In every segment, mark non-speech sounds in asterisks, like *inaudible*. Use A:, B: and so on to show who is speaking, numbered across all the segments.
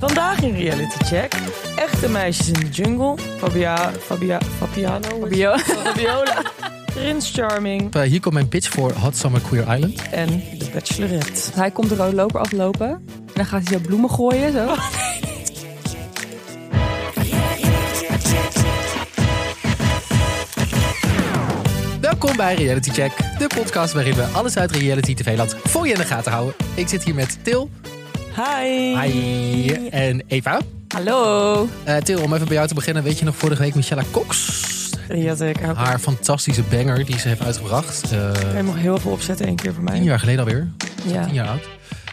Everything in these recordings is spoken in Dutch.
A: Vandaag in Reality Check. Echte meisjes in de jungle. Fabia, Fabia, Fabiano. *laughs*
B: Fabio.
A: Fabiola. Prins Charming.
C: Eh, hier komt mijn pitch voor Hot Summer Queer Island.
A: En de Bachelorette.
B: Hij komt de rode loper aflopen. En dan gaat hij zo bloemen gooien. Zo.
C: Welkom bij Reality Check, de podcast waarin we alles uit reality tv-land voor je in de gaten houden. Ik zit hier met Til,
A: Hi.
C: hi en Eva.
B: Hallo.
C: Eh, Til, om even bij jou te beginnen, weet je nog vorige week Michelle Cox?
A: Ja, zeker. Hij
C: Haar fantastische banger die ze heeft uitgebracht. eh,
A: mag heel veel opzetten één keer voor mij.
C: tien jaar geleden alweer,
A: Ja.
C: tien jaar oud.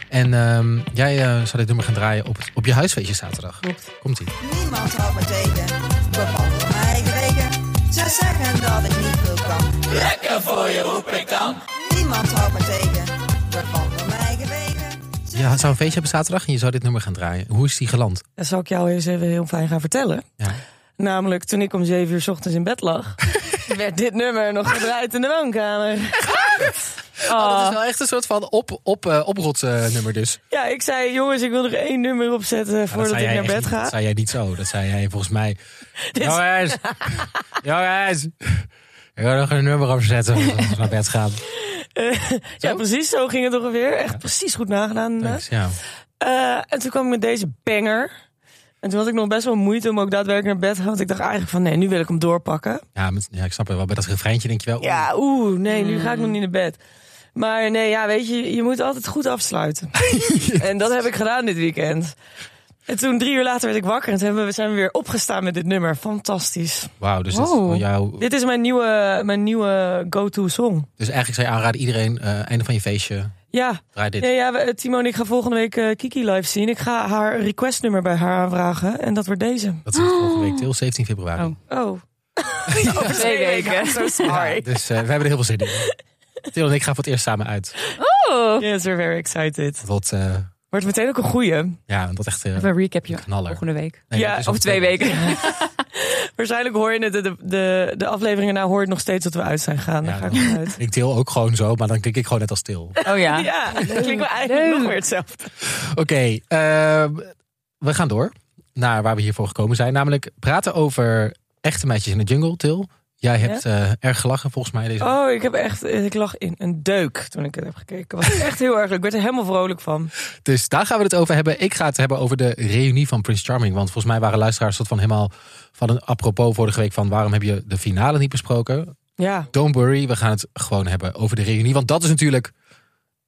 C: En ehm, jij eh, zou dit nummer gaan draaien op, het- op je huisfeestje zaterdag.
A: Klopt.
C: Komt-ie.
D: Niemand houdt me tegen, behalve mijn eigen wegen. Zij zeggen dat ik niet veel kan. Lekker voor je roep ik kan. Niemand houdt me tegen, behalve mijn eigen wegen.
C: Je zou een feestje hebben zaterdag en je zou dit nummer gaan draaien. Hoe is die geland?
A: Dat zal ik jou eens even heel fijn gaan vertellen.
C: Ja.
A: Namelijk, toen ik om zeven uur 's ochtends in bed
B: *laughs*
A: lag, werd dit nummer nog gedraaid in de woonkamer. *laughs* Ah.
C: Oh, dat is wel echt een soort van op, op, eh, oprotsen nummer dus.
A: Ja, ik zei, jongens, ik wil nog één nummer opzetten
C: Maar dat
A: voordat ik
C: zei jij
A: naar
C: echt
A: bed
C: niet-
A: ga.
C: Dat zei jij niet zo. Dat zei jij volgens *laughs* mij.
A: Dit-
C: Jongens, jongens. Ik wil nog een nummer opzetten voordat we naar bed *laughs* gaan.
A: ja, precies, zo ging het ongeveer. Echt precies goed nagedaan. inderdaad.
C: Thanks, ja.
A: Eh, en toen kwam ik met deze banger. En toen had ik nog best wel moeite om ook daadwerkelijk naar bed te gaan. Want ik dacht eigenlijk van nee, nu wil ik hem doorpakken.
C: Ja, met- ja, ik snap het wel. Bij dat refreintje denk je wel. oeh,
A: Ja, oeh, nee, nu ga ik nog niet naar bed. Maar nee, ja, weet je, je moet altijd goed afsluiten. en dat heb ik gedaan dit weekend. En toen drie uur later werd ik wakker en toen hebben we- zijn we weer opgestaan met dit nummer. Fantastisch.
C: Wauw, dus, dat is
B: Wow.
C: voor jou,
A: Dit is mijn nieuwe, mijn nieuwe go-to song.
C: dus eigenlijk zou je aanraden iedereen, eh, einde van je feestje,
A: Ja,
C: draai dit.
A: ja, ja we- eh, Timo en ik gaan volgende week eh, Kiki live zien. Ik ga haar requestnummer bij haar aanvragen en dat wordt deze.
C: Dat is volgende week til, 17 februari.
B: Oh.
A: *laughs* Oh.
B: Over twee weken.
C: Ja, dus eh, we hebben er heel veel zin in. Til en ik gaan voor het eerst samen uit.
B: Oh.
A: *laughs* Yes, we're very excited.
C: Dat wordt, eh,
A: Wordt meteen ook een goeie.
C: ja, dat echt... eh,
B: Even een recapje.
C: Knaller.
B: Volgende week.
C: nee,
A: ja,
C: dat is
B: Over twee weken.
A: Waarschijnlijk hoor je het, de, de, de, de afleveringen nou hoor je het nog steeds dat we uit zijn gegaan. Daar
C: Ja,
A: ga ik
C: dan-
A: van uit.
C: Ik til ook gewoon zo, maar dan klik ik gewoon net als
B: *laughs*
C: til.
B: Oh ja.
A: Ja, klinkt wel eigenlijk
B: Leuk.
A: nog weer hetzelfde.
C: Oké, ehm, we gaan door naar waar we hiervoor gekomen zijn. Namelijk praten over echte meisjes in de jungle, Til. Jij hebt eh, erg gelachen volgens mij deze
A: Oh, ik heb echt, ik lag in een deuk toen ik het heb gekeken. Was echt heel erg leuk. Ik werd er helemaal vrolijk van.
C: Dus daar gaan we het over hebben. Ik ga het hebben over de reunie van Prince Charming. Want volgens mij waren luisteraars soort van helemaal van een apropos vorige week van waarom heb je de finale niet besproken?
A: Ja,
C: Don't worry, we gaan het gewoon hebben over de reunie. Want dat is natuurlijk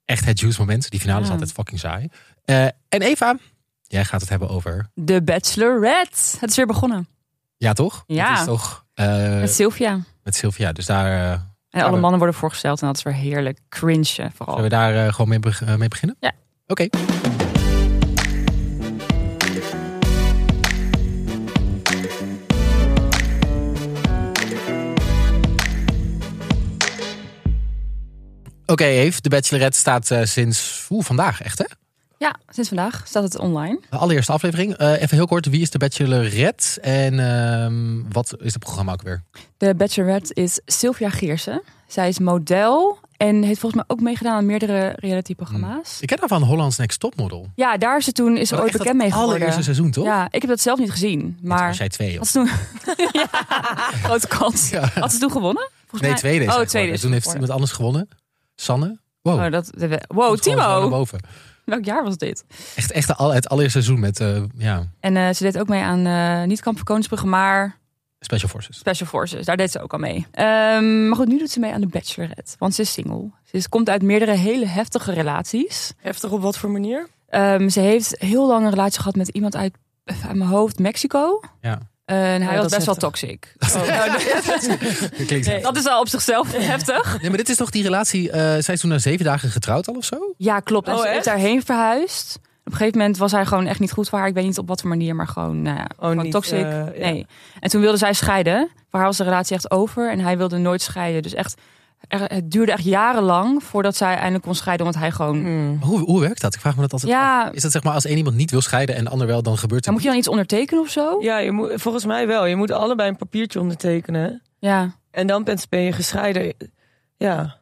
C: echt het juice moment. Die finale is
B: Ja.
C: altijd fucking saai. Eh, en Eva, jij gaat het hebben over...
B: De Bachelorette. Het is weer begonnen.
C: Ja, toch?
B: Ja.
C: Dat is toch... eh,
B: Met Sylvia.
C: Met Sylvia. Dus daar eh,
B: En
C: we-
B: alle mannen worden voorgesteld. En dat is weer heerlijk. Cringe
C: zullen
B: vooral.
C: we daar eh, gewoon mee, beg- eh, mee beginnen?
B: Oh. Ja.
C: Oké. Oké, Eve, de Bachelorette staat eh, sinds oeh, vandaag, echt hè?
B: Ja, sinds vandaag staat het online.
C: De allereerste aflevering. Eh, even heel kort, wie is de Bachelorette en ehm, wat is het programma ook weer?
B: De Bachelorette is Sylvia Geersen. Zij is model. En heeft volgens mij ook meegedaan aan meerdere realityprogramma's.
C: Hmm. Ik ken haar van Hollands Next Topmodel.
B: Ja, daar is ze toen is ze
C: Dat
B: ooit
C: echt
B: bekend mee
C: Het allereerste
B: geworden.
C: seizoen, toch?
B: Ja, ik heb dat zelf niet gezien.
C: Maar...
B: Maar
C: Was jij twee?
B: Had
C: Of...
B: ze toen...
C: *laughs*
B: ja, grote kans.
C: Ja.
B: Had ze toen gewonnen? Volgens
C: Nee,
B: mij-
C: tweede is
B: Oh,
C: hij
B: tweede is
C: geworden. Toen heeft
B: geworden.
C: iemand anders gewonnen. Sanne. Wow.
B: Oh, dat, de- wow,
C: Komt gewoon zo naar
B: Timo.
C: boven.
B: Welk jaar was dit?
C: Echt, echt de al- het allereerste seizoen met eh, ja,
B: En eh, ze deed ook mee aan, eh, niet Kamp van Koningsbrugge, maar
C: Special Forces.
B: Special Forces. Daar deed ze ook al mee. Ehm, maar goed, nu doet ze mee aan de Bachelorette. Want ze is single. Ze is- komt uit meerdere hele heftige relaties.
A: heftig op wat voor manier?
B: Ehm, ze heeft heel lang een relatie gehad met iemand uit, even uit mijn hoofd, Mexico.
C: Ja.
B: Eh, en hij
A: Oh, dat
B: was
A: is
B: best wel
A: heftig.
B: toxic.
C: Dat klinkt
A: Nee.
B: Dat is al op zichzelf *laughs* heftig.
C: Nee, maar dit is toch die relatie... eh, zij is toen na zeven dagen getrouwd al of zo?
B: Ja, klopt. En
A: Oh,
B: ze
A: echt?
B: heeft daarheen verhuisd. Op een gegeven moment was hij gewoon echt niet goed voor haar. Ik weet niet op wat voor manier, maar gewoon, nou ja, gewoon
A: niet,
B: toxic.
A: eh, ja.
B: nee. En toen wilde zij scheiden. Voor haar was de relatie echt over en hij wilde nooit scheiden. Dus echt, er- het duurde echt jarenlang voordat zij eindelijk kon scheiden. Omdat hij gewoon...
A: Mm.
C: Maar Hoe, hoe werkt dat? Ik vraag me dat altijd
B: Ja.
C: af. Is dat zeg maar als één iemand niet wil scheiden en de ander wel, dan gebeurt
B: Dan moet
C: het?
B: je dan iets ondertekenen of zo?
A: Ja, je moet, volgens mij wel. Je moet allebei een papiertje ondertekenen.
B: Ja.
A: En dan ben- ben je gescheiden. Ja.
C: Maar
B: Nou,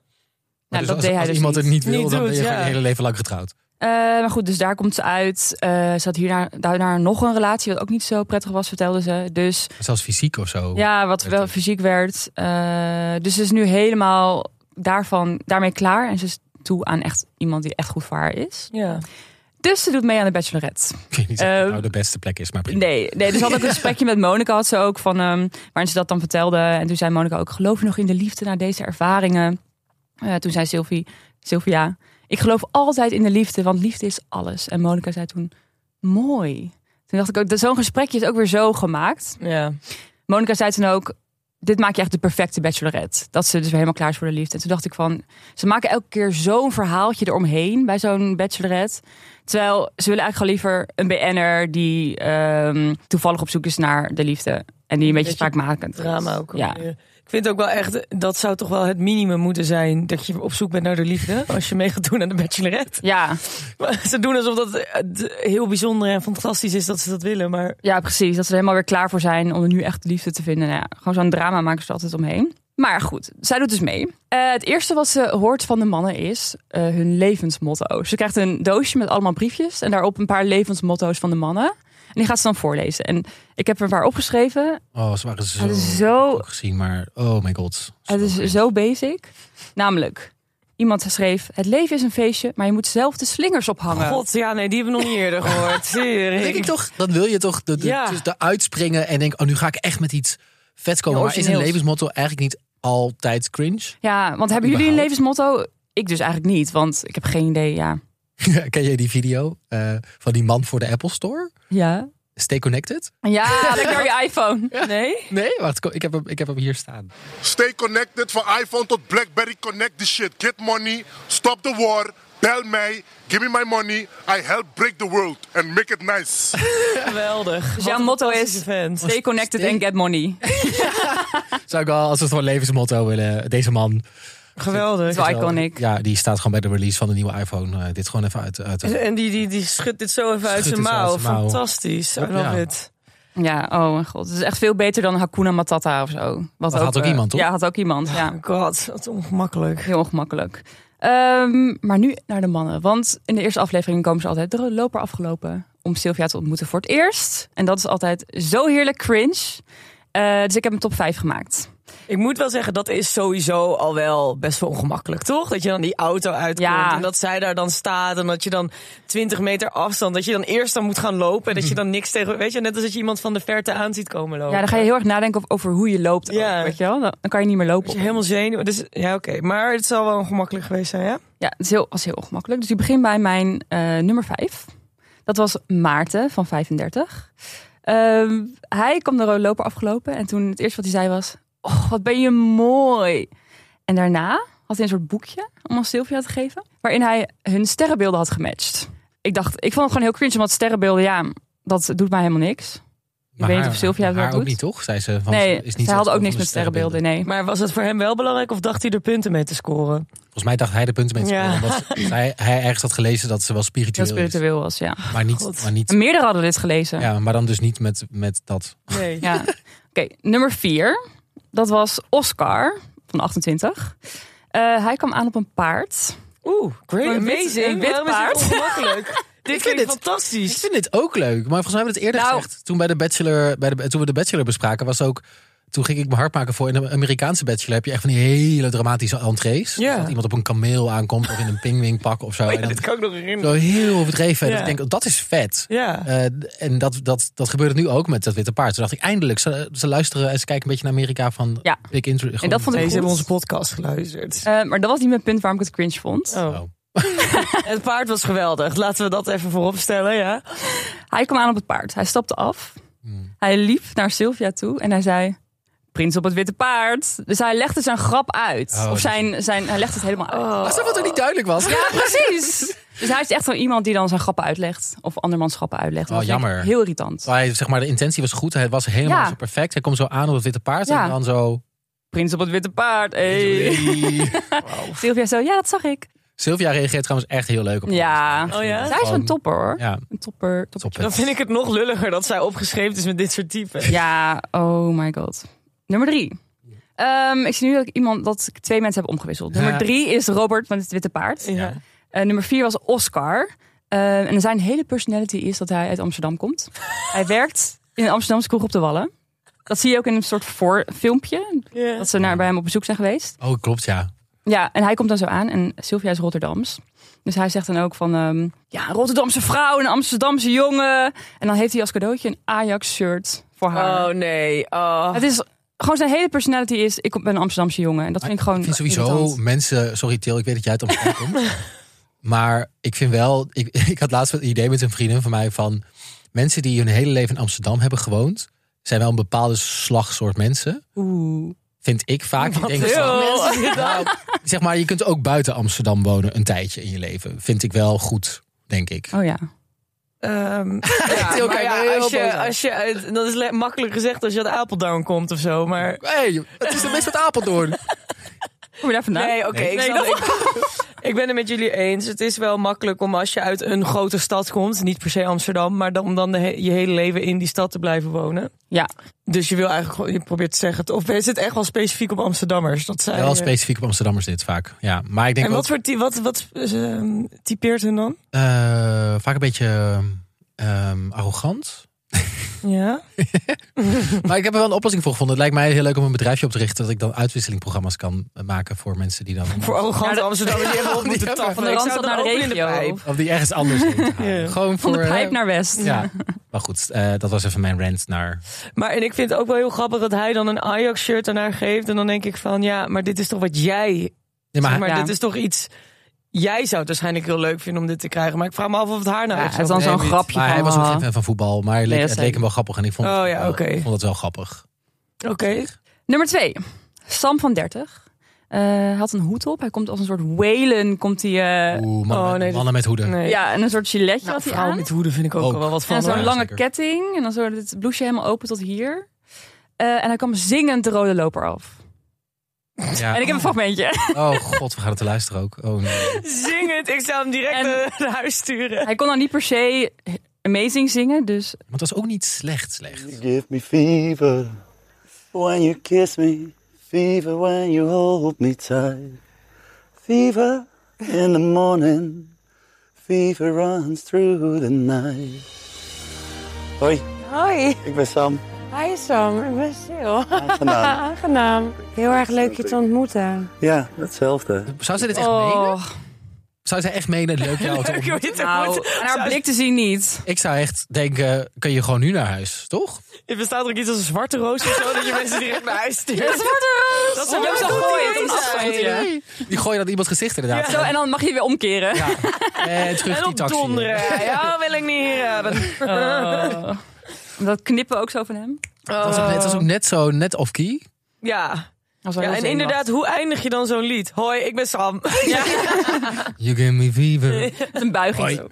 C: dus
B: dat
C: als,
B: deed hij
C: als
B: dus
C: iemand
B: niet.
C: het niet wil,
A: Niet
C: dan ben je
A: doet,
C: gewoon
A: ja.
C: je hele leven lang getrouwd.
B: Eh, Eh, maar goed, dus daar komt ze uit. Eh, ze had hierna, daarna nog een relatie, wat ook niet zo prettig was, vertelde ze. Dus
C: Zelfs fysiek of zo.
B: ja, wat
C: werd
B: wel
C: het.
B: fysiek werd. Eh, dus ze is nu helemaal daarvan, daarmee klaar. En ze is toe aan echt iemand die echt goed voor haar is.
A: Ja.
B: Dus ze doet mee aan de Bachelorette.
C: Ik weet niet of het
B: Ehm,
C: nou de beste plek is, maar prima.
B: Nee, nee dus had ik een gesprekje met Monica had ze ook van ehm, waarin ze dat dan vertelde. En toen zei Monica ook: geloof je nog in de liefde na deze ervaringen? Eh, toen zei Sylvie, Sylvia, ik geloof altijd in de liefde, want liefde is alles. En Monica zei toen: mooi. Toen dacht ik ook, dat zo'n gesprekje is ook weer zo gemaakt.
A: Ja.
B: Monica zei toen ook: dit maak je echt de perfecte bachelorette. Dat ze dus weer helemaal klaar is voor de liefde. En toen dacht ik van, ze maken elke keer zo'n verhaaltje eromheen bij zo'n bachelorette. Terwijl ze willen eigenlijk gewoon liever een BN'er die ehm, toevallig op zoek is naar de liefde. En die een beetje
A: Beetje
B: spraakmakend is.
A: Drama ook.
B: Ja.
A: Ik vind ook wel echt, dat zou toch wel het minimum moeten zijn dat je op zoek bent naar de liefde. Als je mee gaat doen aan de bachelorette.
B: Ja,
A: *laughs* Maar Ze doen alsof dat eh, d- heel bijzonder en fantastisch is dat ze dat willen. Maar
B: ja, precies. Dat ze er helemaal weer klaar voor zijn om nu echt liefde te vinden. Nou ja, gewoon zo'n drama maken ze er altijd omheen. Maar goed, zij doet dus mee. Eh, het eerste wat ze hoort van de mannen is eh, hun levensmotto. Ze krijgt een doosje met allemaal briefjes en daarop een paar levensmotto's van de mannen. En die gaat ze dan voorlezen. En ik heb er een paar opgeschreven.
C: Oh, ze waren zo...
B: Het is zo
C: Ik heb gezien, maar oh my god. Zo
B: Het is
C: cringe.
B: zo basic. Namelijk, iemand schreef: Het leven is een feestje, maar je moet zelf de slingers ophangen.
A: god, ja nee, die hebben we nog niet eerder *laughs* gehoord. Tering.
C: Denk ik toch, dan wil je toch de, de,
A: Ja.
C: dus de uitspringen en denk, oh nu ga ik echt met iets vets komen.
B: Ja,
C: maar is een
B: origineels.
C: levensmotto eigenlijk niet altijd cringe? *laughs*
B: Ja, want hebben jullie een
C: Überhaupt.
B: levensmotto? Ik dus eigenlijk niet, want ik heb geen idee. Ja.
C: Ken jij die video eh, van die man voor de Apple Store?
B: Ja.
C: Stay connected? *laughs*
B: Ja, lekker je iPhone.
A: Nee?
C: Nee, wacht, kom, ik heb hem, ik heb hem hier staan.
E: Stay connected van iPhone tot Blackberry. Connect the shit. Get money. Stop the war. Bel mij. Give me my money. I help break the world and make it nice.
A: Geweldig. Dus
B: jouw motto is-
A: Vent.
B: Stay connected and get money. Het
C: Zou ik wel, als we het gewoon levensmotto willen, deze man.
A: Geweldig.
B: is wel iconic.
C: Ja, die staat gewoon bij de release van de nieuwe iPhone. eh, dit gewoon even uit. uit
A: En die, die, die schudt dit zo even uit
C: Schudt
A: zijn
C: het zo uit
A: mouw.
C: zijn mouw.
A: Fantastisch. I love
C: Ja.
A: it.
B: Ja, oh mijn god. Het is echt veel beter dan Hakuna Matata of zo. Wat
C: Dat had ook
B: eh,
C: iemand, toch?
B: Ja, had ook iemand. Ja.
A: God, wat ongemakkelijk.
B: Heel ongemakkelijk. Ehm, maar nu naar de mannen. Want in de eerste aflevering komen ze altijd de loper afgelopen om Sylvia te ontmoeten voor het eerst. En dat is altijd zo heerlijk cringe. Eh, dus ik heb een top 5 gemaakt.
A: Ik moet wel zeggen, dat is sowieso al wel best wel ongemakkelijk, toch? Dat je dan die auto uitkomt
B: Ja.
A: en dat zij daar dan staat en dat je dan 20 meter afstand, dat je dan eerst dan moet gaan lopen en dat je dan niks tegen, weet je, net als dat je iemand van de verte aan ziet komen lopen.
B: Ja, dan ga je heel erg nadenken over- over hoe je loopt. ook,
A: Ja.
B: weet je wel? Dan dan kan je niet meer lopen.
A: Dus je helemaal zenuwen. Dus ja, oké. Maar het zal wel ongemakkelijk geweest zijn, ja?
B: Ja, het is heel, was heel ongemakkelijk. Dus ik begin bij mijn eh, nummer 5. Dat was Maarten van 35. Ehm, hij kwam de rode loper afgelopen. En toen het eerste wat hij zei was... Oh, wat ben je mooi. En daarna had hij een soort boekje om aan Sylvia te geven. Waarin hij hun sterrenbeelden had gematcht. Ik dacht, ik vond het gewoon heel cringe. Want sterrenbeelden, ja, dat doet mij helemaal niks.
C: Maar
B: weet niet
C: haar-
B: of Sylvia het
C: haar
B: wel
C: ook
B: doet.
C: niet, toch? Zei ze. van,
B: nee,
C: ze is niet
B: zij
C: zelfs
B: hadden ook
C: van
B: niks
C: de
B: met sterrenbeelden, nee.
A: Maar was het voor hem wel belangrijk of dacht hij er punten mee te scoren?
C: Volgens mij dacht hij de punten mee te
A: Ja.
C: scoren, omdat hij, hij ergens had gelezen dat ze wel
B: Heel
C: spiritueel,
B: spiritueel was, ja.
C: is. Maar niet,
A: God.
C: maar niet
B: En meerdere hadden dit gelezen.
C: ja, maar dan dus niet met, met dat.
A: Nee.
B: Ja. Oké, nummer vier. Dat was Oscar van 28. Eh, hij kwam aan op een paard.
A: Oeh, great,
B: Een wit-
A: amazing.
B: een wit
A: Waarom is dit *laughs*
B: paard?
A: ongemakkelijk? dit klinkt
C: dit- Ik
A: fantastisch.
C: vind dit ook leuk, maar volgens mij hebben we het eerder
B: Nou.
C: gezegd. Toen, bij de bachelor, bij de, toen we de Bachelor bespraken, was ook. Toen ging ik me hard maken voor in de Amerikaanse Bachelor. Heb je echt van die hele dramatische entrees.
A: Ja.
C: Dat iemand op een kameel aankomt of in een pingwingpak of zo.
A: Oh ja,
C: en dan
A: dit kan ik nog herinneren.
C: zo heel overdreven.
A: Ja.
C: En ik denk, oh, dat is vet.
A: Ja.
C: Eh, en dat, dat, dat gebeurde nu ook met dat witte paard. Toen dacht ik, eindelijk, ze, ze luisteren en ze kijken een beetje naar Amerika van
B: Ja.
C: Big Intro. gewoon-
B: dat vond ik
A: Deze
B: goed.
A: hebben onze podcast geluisterd.
B: Eh, maar dat was niet mijn punt waarom ik het cringe vond.
A: Oh.
C: Oh.
A: Het paard was geweldig. Laten we dat even voorop stellen, ja.
B: Hij kwam aan op het paard. Hij stapte af. Hij liep naar Sylvia toe en hij zei... Prins op het witte paard. Dus hij legde zijn grap uit.
C: Oh,
B: of
C: dat-
B: zijn, zijn, hij legde het helemaal uit.
A: Oh.
C: Oh. Alsof het ook niet duidelijk was.
B: Ja, precies. Dus hij is echt wel iemand die dan zijn grappen uitlegt. Of andermans grappen uitlegt.
C: Oh,
B: Dat vind ik
C: jammer.
B: Heel irritant.
C: Maar Hij, zeg maar, de intentie was goed. Hij was helemaal
B: Ja.
C: zo perfect. Hij komt zo aan op het witte paard.
B: Ja.
C: En dan zo...
B: Prins op het witte paard. Hey. Sylvia zo, ja dat zag ik.
C: *laughs* Sylvia reageert trouwens echt heel leuk op dat.
B: Ja.
A: Oh ja?
B: Zij is wel een topper hoor.
C: Ja,
B: Een topper. topper.
C: top.
A: Dan vind ik het nog lulliger dat zij opgeschreven is met dit soort typen.
B: Ja, oh my god. Nummer drie. Ehm, ik zie nu dat ik, iemand, dat ik twee mensen heb omgewisseld.
C: Ja.
B: Nummer drie is Robert van het Witte Paard.
A: Ja.
B: Eh, nummer vier was Oscar. Eh, en zijn hele personality is dat hij uit Amsterdam
A: *laughs*
B: komt. hij werkt in een Amsterdamse kroeg op de Wallen. Dat zie je ook in een soort voor filmpje.
A: Ja.
B: Dat ze naar, bij hem op bezoek zijn geweest.
C: Oh, klopt, ja.
B: Ja, en hij komt dan zo aan en Sylvia is Rotterdams. Dus hij zegt dan ook van, ehm, ja, een Rotterdamse vrouw en een Amsterdamse jongen. En dan heeft hij als cadeautje een Ajax-shirt voor haar.
A: Oh nee. Oh.
B: Het is gewoon zijn hele personality is, ik ben een Amsterdamse jongen. En dat vind ik gewoon
C: Ik vind sowieso
B: irritant.
C: mensen... Sorry, Til, ik weet dat jij uit Amsterdam komt.
B: *laughs*
C: Maar ik vind wel... Ik, *laughs* ik had laatst het idee met een vriendin van mij van... Mensen die hun hele leven in Amsterdam hebben gewoond... zijn wel een bepaalde slagsoort mensen.
B: Oeh.
C: Vind ik vaak. Ik denk,
A: heel.
C: Nou, zeg maar, je kunt ook buiten Amsterdam wonen een tijdje in je leven. Vind ik wel goed, denk ik.
B: Oh ja.
A: *laughs* *laughs* Ehm, ja,
C: Til
A: maar
C: kijkt
A: ja,
C: me heel
A: als
C: boos
A: je,
C: aan.
A: als je uit, dat is le- makkelijk gezegd als je uit Apeldoorn komt of zo, maar...
C: hey, het is de best uit Apeldoorn.
B: Kom je daar vandaan?
A: Nee, oké. ik,
B: Nee,
A: snap- ik- *laughs* ik ben het met jullie eens. Het is wel makkelijk om als je uit een grote stad komt, niet per se Amsterdam, maar dan, om dan de he- je hele leven in die stad te blijven wonen.
B: Ja.
A: Dus je wil eigenlijk gewoon, je probeert te zeggen, of is het echt wel specifiek op Amsterdammers? Dat zij,
C: *laughs* Wel
A: eh,
C: specifiek op Amsterdammers dit vaak. Ja, maar ik denk
A: En
C: ook
A: wat, voor ty- wat, wat ehm, typeert hun dan?
C: eh, vaak een beetje ehm, arrogant.
A: Ja.
C: Maar ik heb er wel een oplossing voor gevonden. Het lijkt mij heel leuk om een bedrijfje op te richten... dat ik dan uitwisselingprogramma's kan eh, maken voor mensen die dan...
A: Voor arrogante Amsterdammers *laughs* die hebben op
C: Die
A: moeten
C: hebben-
A: taffen.
B: Van de
A: Ik zou
B: Randstad
A: dan
B: naar de
A: ook in
B: regio.
A: pijp.
C: Of die ergens anders heen te halen.
A: Ja.
B: Van
C: Gewoon voor...
B: de
C: eh,
B: pijp naar West.
C: Ja, maar goed, eh, dat was even mijn rant naar...
A: Maar en ik vind het ook wel heel grappig dat hij dan een Ajax-shirt aan haar geeft. En dan denk ik van, ja, maar dit is toch wat jij...
C: Nee, maar
A: zeg maar
B: ja.
A: dit is toch iets... Jij zou het waarschijnlijk heel leuk vinden om dit te krijgen. Maar ik vraag me af of het haar nou
B: Ja,
A: echt
B: het
A: zo
B: dan
A: leuk
B: zo'n
A: vindt.
B: grapje
C: Maar hij
B: van,
C: was ook geen
B: ah.
C: fan van voetbal, maar het
B: Nee,
C: leek,
B: dat
C: het
B: zei
C: leek hem wel grappig. En ik vond,
A: Oh
C: het,
A: ja,
C: wel-
A: oké.
C: ik vond het wel grappig.
A: Oké.
B: Nummer twee. Sam van 30. Eh, hij had een hoed op. Hij komt als een soort Whalen. Komt hij, eh,
C: Oeh, mannen,
A: Oh,
C: met-
A: nee, dat-
C: mannen met hoeden.
A: Nee.
B: ja, en een soort giletje
A: Nou,
B: had hij
A: vrouw
B: aan.
A: met hoeden vind ik ook,
C: Ook.
A: wel wat van.
B: En
A: hoor.
B: zo'n
C: Ja,
B: lange
C: eh, zeker.
B: ketting. En dan zo het bloesje helemaal open tot hier. Eh, en hij kwam zingend de rode loper af.
C: Ja.
B: En ik heb een
C: *laughs*
B: fragmentje.
C: Oh god, we gaan het te luisteren ook. Oh, nee.
A: Zingend, *laughs* ik zou hem direct
B: En- Nou,
A: eh, naar huis sturen. *laughs*
B: *laughs* Hij kon dan niet per se amazing zingen. Dus
C: Want dat is ook niet slecht slecht.
F: You give me fever when you kiss me, fever when you hold me tight, fever in the morning, fever runs through the night. Hoi,
G: Hoi,
F: ik ben Sam.
G: hi Sam, ik ben Sil.
F: Aangenaam.
G: Aangenaam. Heel erg leuk je te ontmoeten.
F: Ja, hetzelfde.
C: Zou ze dit echt menen?
B: oh,
C: Zou zij echt menen? Leuk jou te ontmoeten?
B: nou, aan haar blik te zien
C: *laughs*
B: niet.
C: Ik zou echt denken, kun je gewoon nu naar huis, toch?
A: Er bestaat er ook iets als een zwarte roos of zo, dat je mensen direct naar huis
B: *laughs*
A: stuurt.
B: Dat
A: ze hem zo gooien op een afstandje.
C: Die gooien dan iemands gezicht inderdaad.
B: Zo,
C: Ja.
B: en dan mag je weer omkeren.
C: En terug
A: En
C: die
A: op
C: taxi. *laughs*
A: donderen. Ja, wil ik niet eh, hier hebben.
B: Oh. *laughs* Dat knippen ook zo van hem.
C: Dat was ook net, dat was ook net zo, net off-key.
A: Ja.
B: Dat was wel
A: ja,
B: heel
A: en
B: zenuwachtig.
A: inderdaad, hoe eindig je dan zo'n lied? Hoi, ik ben Sam. *laughs*
C: You give me fever.
B: Met een buiging
C: Hoi.
B: zo.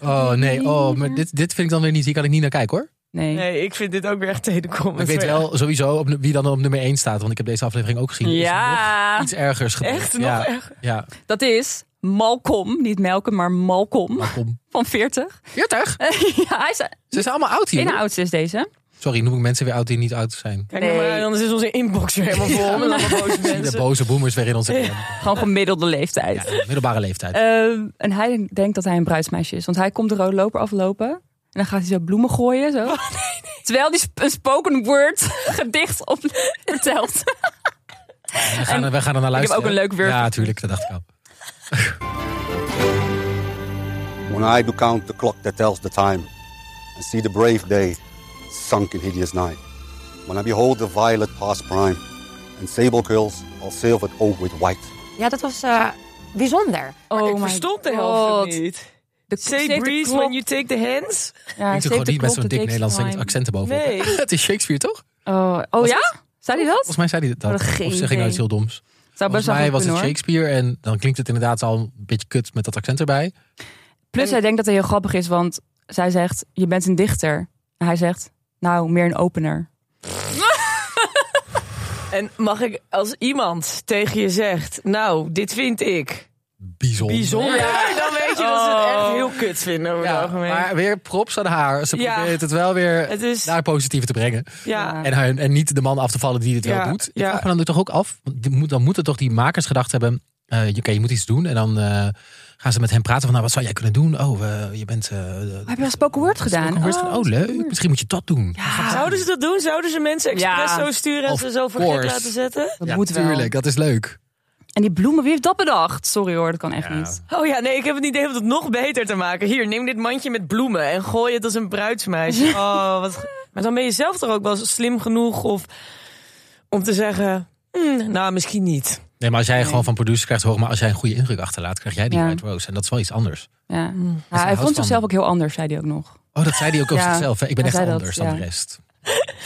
C: Oh nee, oh, maar dit, dit vind ik dan weer niet, hier kan ik niet naar kijken hoor.
B: Nee.
A: Nee, ik vind dit ook weer echt telecom.
C: Ik weet wel sowieso op, nu- wie dan op nummer 1 staat, want ik heb deze aflevering ook gezien. Is nog
B: Ja,
C: iets ergers gebeurd.
A: Echt? Nog
C: ja.
A: erger?
C: Ja,
B: dat is Malcolm. Niet Malcolm, maar Malcolm
C: maar kom.
B: van 40.
C: 40?
B: *laughs* ja, hij is
C: Ze zijn allemaal oud hier.
B: een
C: hoor.
B: oudste is deze.
C: Sorry, noem ik mensen weer oud die niet oud zijn.
A: Kijk nou maar,
B: Nee.
A: anders is onze inbox weer helemaal vol met allemaal
C: *laughs*
A: boze
C: De
A: mensen.
C: boze boomers weer in onze
B: Gewoon gemiddelde leeftijd.
C: ja, middelbare leeftijd.
B: Ehm, en hij denkt dat hij een bruidsmeisje is. Want hij komt de rode loper aflopen. En dan gaat hij zo bloemen gooien.
A: Oh,
B: Zo. Terwijl hij sp- een spoken word *laughs* gedicht op vertelt.
C: we, gaan, er- we gaan er naar luisteren.
B: ook een leuk wurf.
C: Ja, tuurlijk, dat dacht ik al.
H: When I do count the clock that tells the time, and see the brave day sunk in hideous night. When I behold the violet past prime, and sable curls all silvered over with white.
G: Ja, dat was eh, bijzonder.
B: Oh
A: ik
B: my
A: verstond de
B: God.
A: helft niet.
B: De
A: Say breeze when you take the hands.
B: Ja,
C: Ik doe gewoon niet met zo'n dik Nederlands accent erboven.
A: Nee.
C: *laughs* het is Shakespeare, toch?
B: Oh, oh ja? Zei hij dat?
C: Volgens mij zei hij dat.
B: Wat een geen
C: Of zeg ik
B: idee.
C: nou iets heel doms?
B: Zou best
C: Volgens
B: wel
C: mij
B: goed
C: was het
B: kunnen, hoor.
C: Shakespeare en dan klinkt het inderdaad al een beetje kut met dat accent erbij.
B: Plus
A: En-
B: hij denkt dat hij heel grappig is. Want zij zegt, je bent een dichter. En hij zegt, nou, meer een opener.
A: En mag ik, als iemand tegen je zegt, nou, dit vind ik
C: Bijzonder.
A: bijzonder, dan weet je dat ze het
B: Oh.
A: echt heel kut vinden over het
C: Ja,
A: algemeen.
C: maar weer props aan haar. Ze
A: Ja.
C: probeert het wel weer
A: Het is,
C: naar het positieve te brengen.
A: ja,
C: En, haar- en niet de man af te vallen die dit
A: Ja,
C: wel doet. Ik
A: ja.
C: vraag me dan toch ook af, want die moet- dan moeten toch die makers gedacht hebben... eh, eh, Oké, je moet iets doen. En dan eh, gaan ze met hem praten van, nou, wat zou jij kunnen doen? Oh, eh, je bent... eh, de-
B: Heb je al spoken word gedaan?
C: Spoken word. Oh,
B: wat
C: leuk.
B: stoer.
C: Misschien moet je dat doen.
A: Zouden ze dat doen? Zouden ze mensen expres
B: Ja.
A: zo sturen en
C: Of
A: ze zo voor gek
C: course.
A: laten zetten?
B: Dat
C: ja,
B: moet wel.
C: tuurlijk. Dat is leuk.
B: En die bloemen, wie heeft dat bedacht? Sorry hoor, dat kan echt niet.
A: Oh ja, nee, ik heb het idee om dat nog beter te maken. Hier, neem dit mandje met bloemen en gooi het als een *laughs* bruidsmeisje. Oh, wat... ge- Maar dan ben je zelf toch ook wel slim genoeg of... om te zeggen, "Hmm, nou, misschien niet.
C: Nee, maar als jij gewoon van producer krijgt hoor, maar als jij een goede indruk achterlaat, krijg jij die
B: Ja.
C: White Rose. En dat is wel iets anders.
B: Ja.
C: hij
B: Ja, hij
C: houdt
B: vond
C: van
B: zichzelf
C: hem.
B: ook heel anders, zei hij ook nog.
C: Oh, dat zei hij ook over
B: Ja,
C: zichzelf. hè? Ik ben
B: hij
C: echt
B: zei dat,
C: anders dan
B: ja.
C: de rest.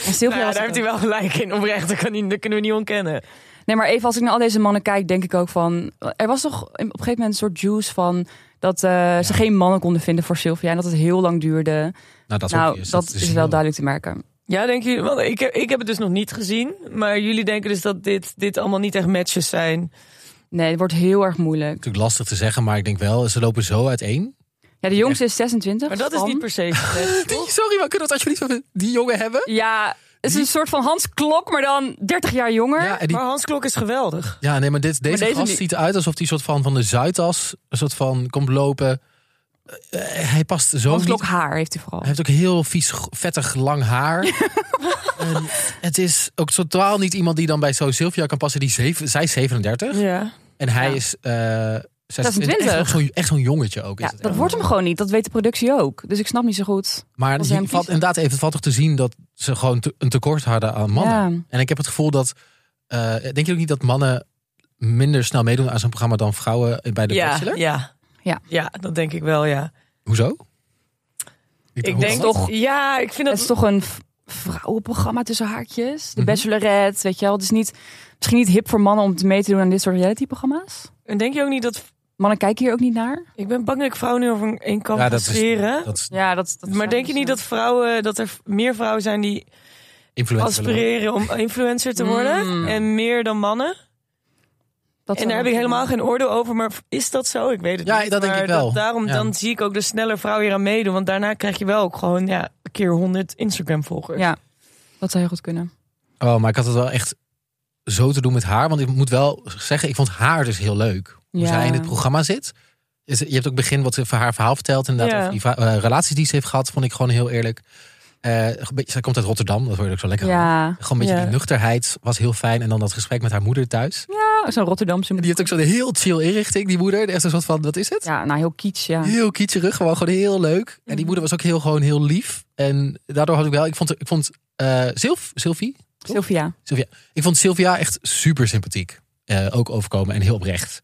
B: En Sylvia
A: Nou ja,
B: was
A: daar
B: ook-
A: heeft hij wel gelijk in. Oprecht, dat, kan niet, dat kunnen we niet ontkennen.
B: Nee, maar even als ik naar al deze mannen kijk, denk ik ook van... Er was toch op een gegeven moment een soort juice van... dat eh, ze geen mannen konden vinden voor Sylvia. En dat het heel lang duurde.
C: Nou, dat,
B: nou,
C: obvious.
B: dat, is, wel
C: heel-
B: duidelijk te merken.
A: Ja, denk je, want ik, heb- ik heb het dus nog niet gezien. Maar jullie denken dus dat dit, dit allemaal niet echt matches zijn.
B: Nee, het wordt heel erg moeilijk.
C: Natuurlijk lastig te zeggen, maar ik denk wel, ze lopen zo uiteen.
B: Ja, de jongste is 26.
A: Maar dat is
B: Sam.
A: niet per *laughs* se slecht, toch?
C: *laughs* Sorry, maar kunnen we het alsjeblieft over die jongen hebben?
B: Ja, het is een soort van Hans Klok, maar dan 30 jaar jonger.
C: Ja, en die,
A: Maar Hans Klok is geweldig.
C: ja nee, maar dit, deze,
B: oh. deze
C: gast
B: niet.
C: ziet eruit alsof hij soort van van de Zuidas een soort van komt lopen. Eh, hij past zo
B: Hans
C: niet.
B: Klok haar heeft hij vooral.
C: Hij heeft ook heel vies, g- vettig lang
B: *laughs*
C: haar. en het is ook totaal niet iemand die dan bij zo'n Sylvia kan passen. Die zeven, zij is 37
A: Ja.
C: en hij
B: Ja.
C: is eh 26.
B: 26.
C: Echt nog zo'n- Echt zo'n jongetje ook.
B: Ja,
C: is het
B: dat
C: echt.
B: wordt hem gewoon niet. Dat weet de productie ook. Dus ik snap niet zo goed.
C: Maar
B: Als
C: je
B: hij hem
C: valt,
B: kiezen.
C: inderdaad, even, het valt toch te zien dat ze gewoon te- een tekort hadden aan mannen.
B: Ja.
C: En ik heb het gevoel dat. eh, denk je ook niet dat mannen minder snel meedoen aan zo'n programma dan vrouwen bij de
A: ja,
C: Bachelor?
A: ja.
B: Ja.
A: Ja, dat denk ik wel, ja.
C: Hoezo?
A: Ik
C: hoe
A: denk
C: kan dat?
A: toch. Ja, ik vind dat.
B: Het is toch een v- vrouwenprogramma tussen haakjes. De Bachelorette, weet je wel. Het is niet, misschien niet hip voor mannen om mee te doen aan dit soort realityprogramma's.
A: En denk je ook niet dat.
B: Mannen kijken hier ook niet naar.
A: Ik ben bang dat ik vrouwen nu over een- een kamp
C: Ja,
A: ga
C: dat is,
A: scheren.
C: dat is
B: Ja, dat, dus dat
A: Maar denk je niet dat vrouwen. dat er meer vrouwen zijn die
C: influencer.
A: aspireren om influencer te worden?
B: Mm.
A: En meer dan mannen? En daar heb ik helemaal geen oordeel over, maar is dat zo? Ik weet het
C: Ja,
A: niet.
C: dat denk
A: maar
C: ik wel.
A: daarom
C: Ja.
A: dan zie ik ook de sneller vrouwen hier aan meedoen. Want daarna krijg je wel ook gewoon ja, een keer 100 Instagram-volgers.
B: Ja, dat zou heel goed kunnen.
C: Oh, maar ik had het wel echt zo te doen met haar. Want ik moet wel zeggen, ik vond haar dus heel leuk. Hoe
B: Ja.
C: zij in het programma zit. Is- Je hebt ook het begin wat ze van haar verhaal vertelt. Inderdaad,
A: Ja.
C: over die va- eh, relaties die ze heeft gehad, vond ik gewoon heel eerlijk. Eh, een beetje- zij komt uit Rotterdam, dat hoor je ook zo lekker. aan.
B: Ja,
C: Gewoon een beetje
A: Ja.
C: die nuchterheid was heel fijn. En dan dat gesprek met haar moeder thuis.
B: ja zo'n Rotterdamse...
C: En die heeft ook zo'n heel chill inrichting, die moeder. Echt een soort van, wat is het?
B: Ja, Mhm. nou heel kitsch, ja.
C: Heel kitscherig, gewoon, gewoon heel leuk. En die moeder was ook heel, gewoon heel lief. En daardoor had ik wel, ik vond, ik vond eh, Sylv- Sylvie,
B: Sylvia.
C: Sylvia. Ik vond Sylvia echt super sympathiek. Eh, ook overkomen en heel oprecht.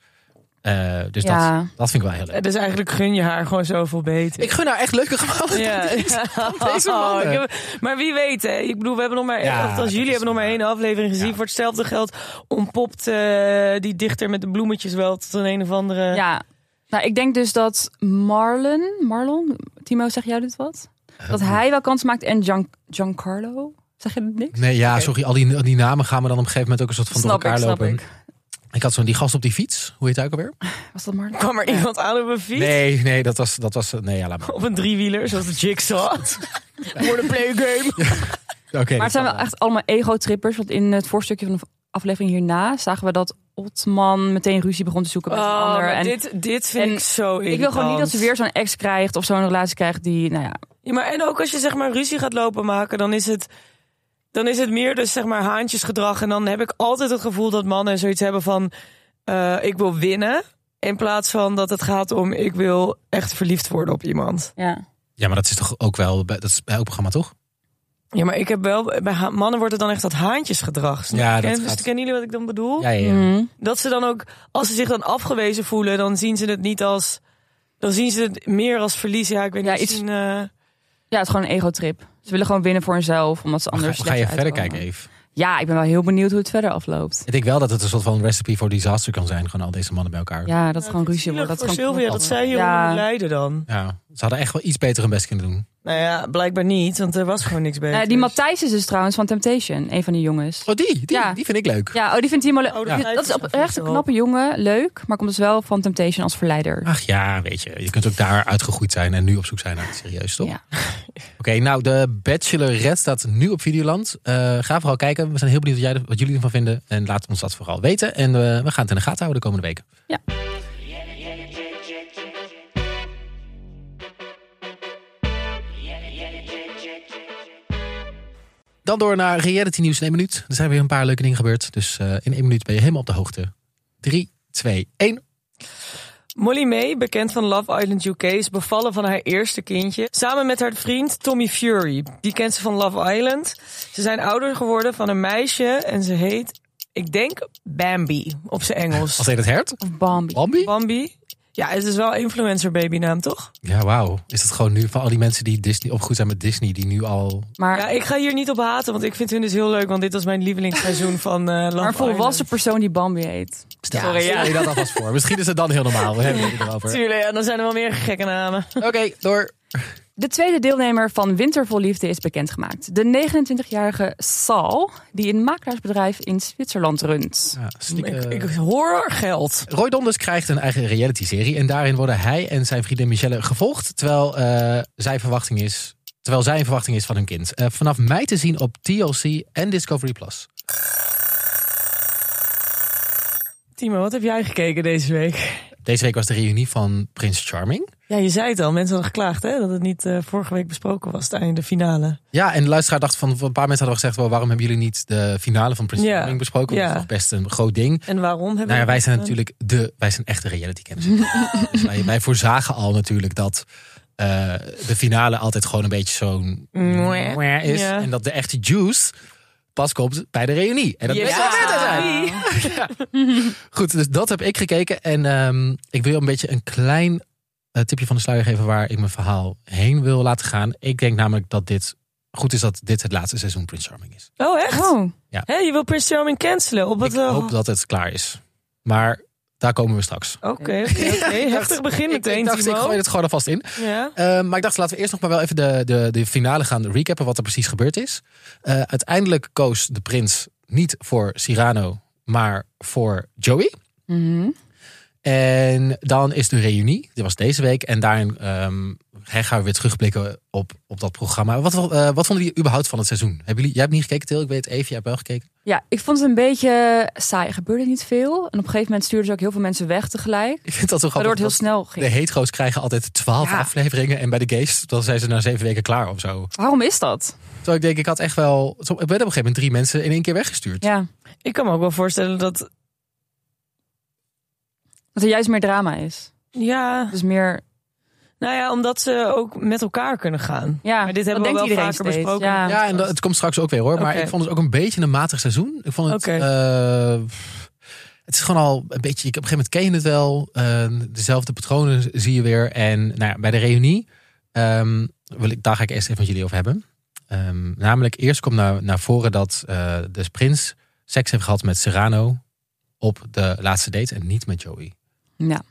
C: Eh, dus
B: Ja. Eh,
C: dat, dat vind ik wel heel leuk.
A: Dus eigenlijk gun je haar gewoon zoveel beter.
C: Ik gun haar echt leuke gevallen.
A: Ja,
C: *laughs*
B: *laughs* Oh,
C: deze mannen.
A: Oh, ik heb- maar wie weet, hè? Ik bedoel, we hebben nog maar.
C: Ja,
A: of
C: dat
A: als jullie
C: is
A: hebben nog maar
C: waar.
A: één aflevering gezien.
C: Ja.
A: Voor hetzelfde geld ontpopt eh, die dichter met de bloemetjes wel tot een een of andere.
B: Ja. Nou, ik denk dus dat Marlon... Marlon? Timo, zeg jij dit wat? Dat hij wel kans maakt en Gian, Giancarlo? Zeg je dat niks?
C: Nee, ja, sorry. Al die, al die namen gaan we dan op een gegeven moment ook een soort van
B: snap
C: door
B: ik,
C: elkaar
B: snap
C: lopen.
B: ik.
C: Ik had zo'n die gast op die fiets. Hoe heet hij ook alweer?
B: Was dat Marlon?
A: kwam er iemand aan op een fiets.
C: Nee, nee, dat was... Dat was nee, ja, laat maar.
A: Op een driewieler, zoals de
C: *laughs*
A: Jigsaw. Voor de playgame.
B: Oh.
C: Oké. dat
B: Maar het zijn
C: kan
B: wel echt allemaal ego-trippers. Want in het voorstukje van de aflevering hierna zagen we dat Otman meteen ruzie begon te zoeken met een
A: Oh,
B: ander.
A: maar
B: En
A: dit, dit vind
B: en
A: ik zo irritant.
B: ik wil gewoon niet dat ze weer zo'n ex krijgt of zo'n relatie krijgt die, nou ja.
A: Ja, maar en ook als je zeg maar ruzie gaat lopen maken, dan is het... Dan is het meer dus zeg maar haantjesgedrag. En dan heb ik altijd het gevoel dat mannen zoiets hebben van... eh, ik wil winnen. In plaats van dat het gaat om ik wil echt verliefd worden op iemand.
B: ja.
C: Ja, maar dat is toch ook wel... bij- Dat is bij elk programma, toch?
A: Ja, maar ik heb wel... Bij ha- mannen wordt het dan echt dat haantjesgedrag. snap
C: Ja,
A: je?
C: dat
A: Ken-
C: gaat-
A: Kennen jullie wat ik dan bedoel?
C: Ja, ja, ja.
B: Mm.
A: Dat ze dan ook, als ze zich dan afgewezen voelen, dan zien ze het niet als. Dan zien ze het meer als verlies. Ja, ik weet
B: Ja,
A: niet.
B: iets-
A: Misschien, eh,
B: ja, het is gewoon een ego-trip. Ze willen gewoon winnen voor hunzelf, omdat ze anders.
C: Anders ga, je
B: slechter
C: verder
B: uitkomen.
C: kijken even.
B: Ja, ik ben wel heel benieuwd hoe het verder afloopt.
C: Ik denk wel dat het een soort van recipe for disaster kan zijn. Gewoon al deze mannen bij elkaar.
B: Ja, dat het gewoon ruzie
A: zielig
B: wordt. Dat
A: voor
B: het gewoon
A: Sylvia, dat zij hieronder
B: Ja.
A: moet lijden dan.
C: Ja. Ze hadden echt wel iets beter hun best kunnen doen.
A: Nou ja, blijkbaar niet, want er was gewoon niks beter.
B: Eh, die Matthijs is dus trouwens van Temptation, een van die jongens.
C: Oh, die, die,
B: Ja.
C: die vind ik leuk.
B: Ja, oh, die vindt hij helemaal
A: Oh,
B: leuk.
A: dat
B: Ja,
A: lijkt
B: Dat is
A: me zo
B: oprecht een
A: wel.
B: knappe jongen, leuk, maar komt dus wel van Temptation als verleider.
C: Ach ja, weet je, je kunt ook daar uitgegroeid zijn en nu op zoek zijn naar het serieus, toch?
B: Ja.
C: Oké, nou, de Bachelorette staat nu op Videoland. Eh, ga vooral kijken. We zijn heel benieuwd wat, jij, wat jullie ervan vinden. En laat ons dat vooral weten. En eh, we gaan het in de gaten houden de komende weken.
B: Ja.
C: Dan door naar reality nieuws in één minuut. Er zijn weer een paar leuke dingen gebeurd. Dus eh, in één minuut ben je helemaal op de hoogte. 3, 2, 1.
A: Molly May, bekend van Love Island UK, is bevallen van haar eerste kindje. Samen met haar vriend Tommy Fury. Die kent ze van Love Island. Ze zijn ouder geworden van een meisje en ze heet, ik denk, Bambi op zijn
C: Als
A: Engels.
C: heet het hert?
B: Of Bambi.
C: Bambi?
A: Bambi? Ja, het is wel influencer babynaam, toch?
C: Ja, wauw. Is dat gewoon nu van al die mensen die Disney opgegroeid zijn met Disney, die nu al.
B: Maar,
A: Ja, ik ga hier niet op haten, want ik vind hun dus heel leuk. Want dit was mijn *laughs* lievelingsseizoen van eh Love
B: maar een volwassen
A: Island.
B: persoon die Bambi heet.
C: Stel,
A: Sorry, ja.
C: stel je dat alvast voor. Misschien is het dan heel normaal. We hebben het erover.
A: Tuurlijk, ja, dan zijn er wel meer gekke namen.
C: Oké, door.
B: De tweede deelnemer van Winter Vol Liefde is bekendgemaakt. De 29-jarige Sal, die een makelaarsbedrijf in Zwitserland runt.
C: Ja, sneak,
A: Ik,
C: eh,
A: *laughs* ik hoor geld.
C: Roy Donders krijgt een eigen reality-serie. En daarin worden hij en zijn vriendin Michelle gevolgd. Terwijl, eh, zijn verwachting is, terwijl zij een verwachting is van hun kind. Eh, vanaf mei te zien op TLC en Discovery Plus.
A: Timo, wat heb jij gekeken deze week?
C: Deze week was de reunie van Prins Charming.
A: Ja, je zei het al. Mensen hadden geklaagd hè, dat het niet eh, vorige week besproken was, het einde finale.
C: Ja, en de luisteraar dacht van, een paar mensen hadden gezegd... Wow, waarom hebben jullie niet de finale van Prins
A: Ja.
C: Charming besproken? Want
A: Ja.
C: Dat is toch best een groot ding.
A: En waarom hebben
C: Nou ja,
A: we
C: wij
A: dat gedaan?
C: zijn natuurlijk de, wij zijn echte reality kenners.
A: *laughs*
C: dus wij, wij voorzagen al natuurlijk dat eh, de finale altijd gewoon een beetje zo'n
A: Mwah.
C: mwah is.
A: Ja.
C: En dat de echte juice pas komt bij de reunie. En dat
A: Yes.
C: best wel weer te zijn. Goed, dus dat heb ik gekeken. En ehm, ik wil een beetje een klein eh, tipje van de sluier geven waar ik mijn verhaal heen wil laten gaan. Ik denk namelijk dat dit goed is dat dit het laatste seizoen Prince Charming is.
A: Oh, echt?
B: Oh,
A: Hè, je wil Prince Charming cancelen? Op eh, wat?
C: ik hoop dat het klaar is. Maar daar komen we straks.
A: Oké,
B: *laughs*
A: oké, oké. Heftig begin
C: Ik,
A: meteen,
C: ik dacht, ik
A: Timo.
C: gooi het gewoon alvast in.
A: Ja.
C: Eh, maar ik dacht, laten we eerst nog maar wel even de, de, de finale gaan recappen wat er precies gebeurd is. Eh, uiteindelijk koos de prins niet voor Cyrano, maar voor Joey.
B: mhm.
C: En dan is de reunie, die was deze week. En daarin ehm, hè, gaan we weer terugblikken op, op dat programma. Wat, eh, wat vonden jullie überhaupt van het seizoen? Hebben jullie, jij hebt niet gekeken, Til, ik weet even, jij hebt wel gekeken.
B: ja, ik vond het een beetje saai. Er gebeurde niet veel. En op een gegeven moment stuurden ze ook heel veel mensen weg tegelijk.
C: Ik vind dat zo
B: Waardoor
C: grappig.
B: het heel
C: dat
B: snel
C: de
B: ging.
C: hetero's krijgen altijd twaalf
B: Ja.
C: afleveringen. En bij de gays, dan zijn ze na zeven weken klaar of zo.
B: Waarom is dat?
C: Terwijl ik denk, ik had echt wel... Ik ben op een gegeven moment drie mensen in één keer weggestuurd.
B: Ja,
A: Ik kan me ook wel voorstellen dat...
B: dat er juist meer drama is.
A: Ja,
B: Dus meer,
A: nou ja, omdat ze ook met elkaar kunnen gaan.
B: ja,
A: Maar dit
B: dat
A: hebben we
B: denkt
A: wel
B: iedereen
A: vaker
B: steeds.
A: besproken.
B: Ja.
C: Ja, en dat, het komt straks ook weer hoor. Maar
A: Oké.
C: ik vond het ook een beetje een matig seizoen. Ik vond het.
A: Oké.
C: eh, het is gewoon al een beetje. Op een gegeven moment ken je het wel. eh, dezelfde patronen zie je weer. En nou ja, bij de reunie. ehm, wil ik, daar ga ik eerst even met jullie over hebben. Ehm, namelijk, eerst komt naar, naar voren dat eh, de prins seks heeft gehad met Serrano. op de laatste date en niet met Joey.
B: Ja.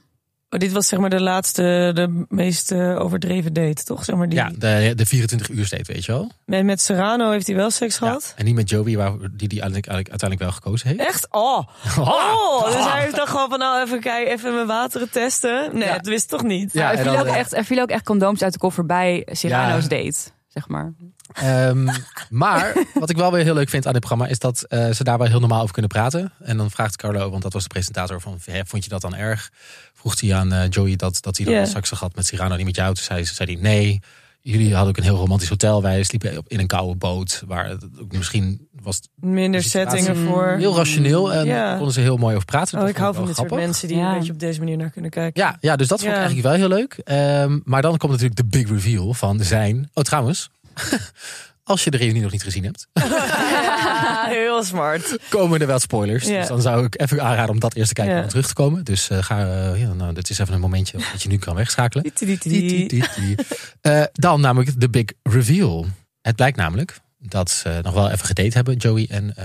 A: Oh, dit was zeg maar de laatste, de meest eh, overdreven date, toch? Zeg maar die,
C: Ja, de, de 24 uur date, weet je wel.
A: met, met Serrano heeft hij wel seks gehad.
C: En niet met Joey, waar, die die uiteindelijk, uiteindelijk wel gekozen heeft.
A: Echt?
C: *laughs*
A: Oh. oh. Dus hij heeft dan gewoon van nou even kijken, even mijn wateren testen. Nee,
C: Ja.
A: dat wist toch niet.
C: Ja,
B: er,
C: en
B: viel
C: dan,
B: ook
C: eh,
B: echt, er viel ook echt condooms uit de koffer bij Cyrano's date, zeg maar.
C: Ehm, maar wat ik wel weer heel leuk vind aan dit programma is dat eh, ze daar wel heel normaal over kunnen praten. En dan vraagt Carlo, want dat was de presentator, van "Hè, vond je dat dan erg? Vroeg hij aan eh, Joey dat, dat hij dan
A: Ja.
C: yeah. seks had met Cyrano, niet met jou. Toen zei, zei hij nee. Jullie hadden ook een heel romantisch hotel. Wij sliepen op- in een koude boot. Waar het ook misschien was het
A: Minder
C: Dus die
A: setting
C: plaatsen-
A: ervoor.
C: heel rationeel. En
A: Ja.
C: daar konden ze heel mooi over praten.
A: Oh,
C: Dat
A: ik hou
C: vond
A: van
C: wel
A: dit soort
C: grappig.
A: mensen die
B: Ja.
A: een beetje op deze manier naar kunnen kijken.
C: Ja, ja, dus dat vond ik
A: Ja.
C: eigenlijk wel heel leuk. Ehm, maar dan komt natuurlijk de big reveal van zijn... Oh, trouwens, *laughs* als je de reunie nog niet gezien hebt... *laughs*
A: Ah, heel smart.
C: komen er wel spoilers.
A: Ja.
C: Dus dan zou ik even aanraden om dat eerst te kijken
A: Ja.
C: en dan terug te komen. Dus eh, ga, eh, ja, nou, dit is even een momentje *laughs* dat je nu kan wegschakelen. Die, die, die, die. Eh, dan namelijk de big reveal. Het blijkt namelijk dat ze nog wel even gedate hebben, Joey en, eh,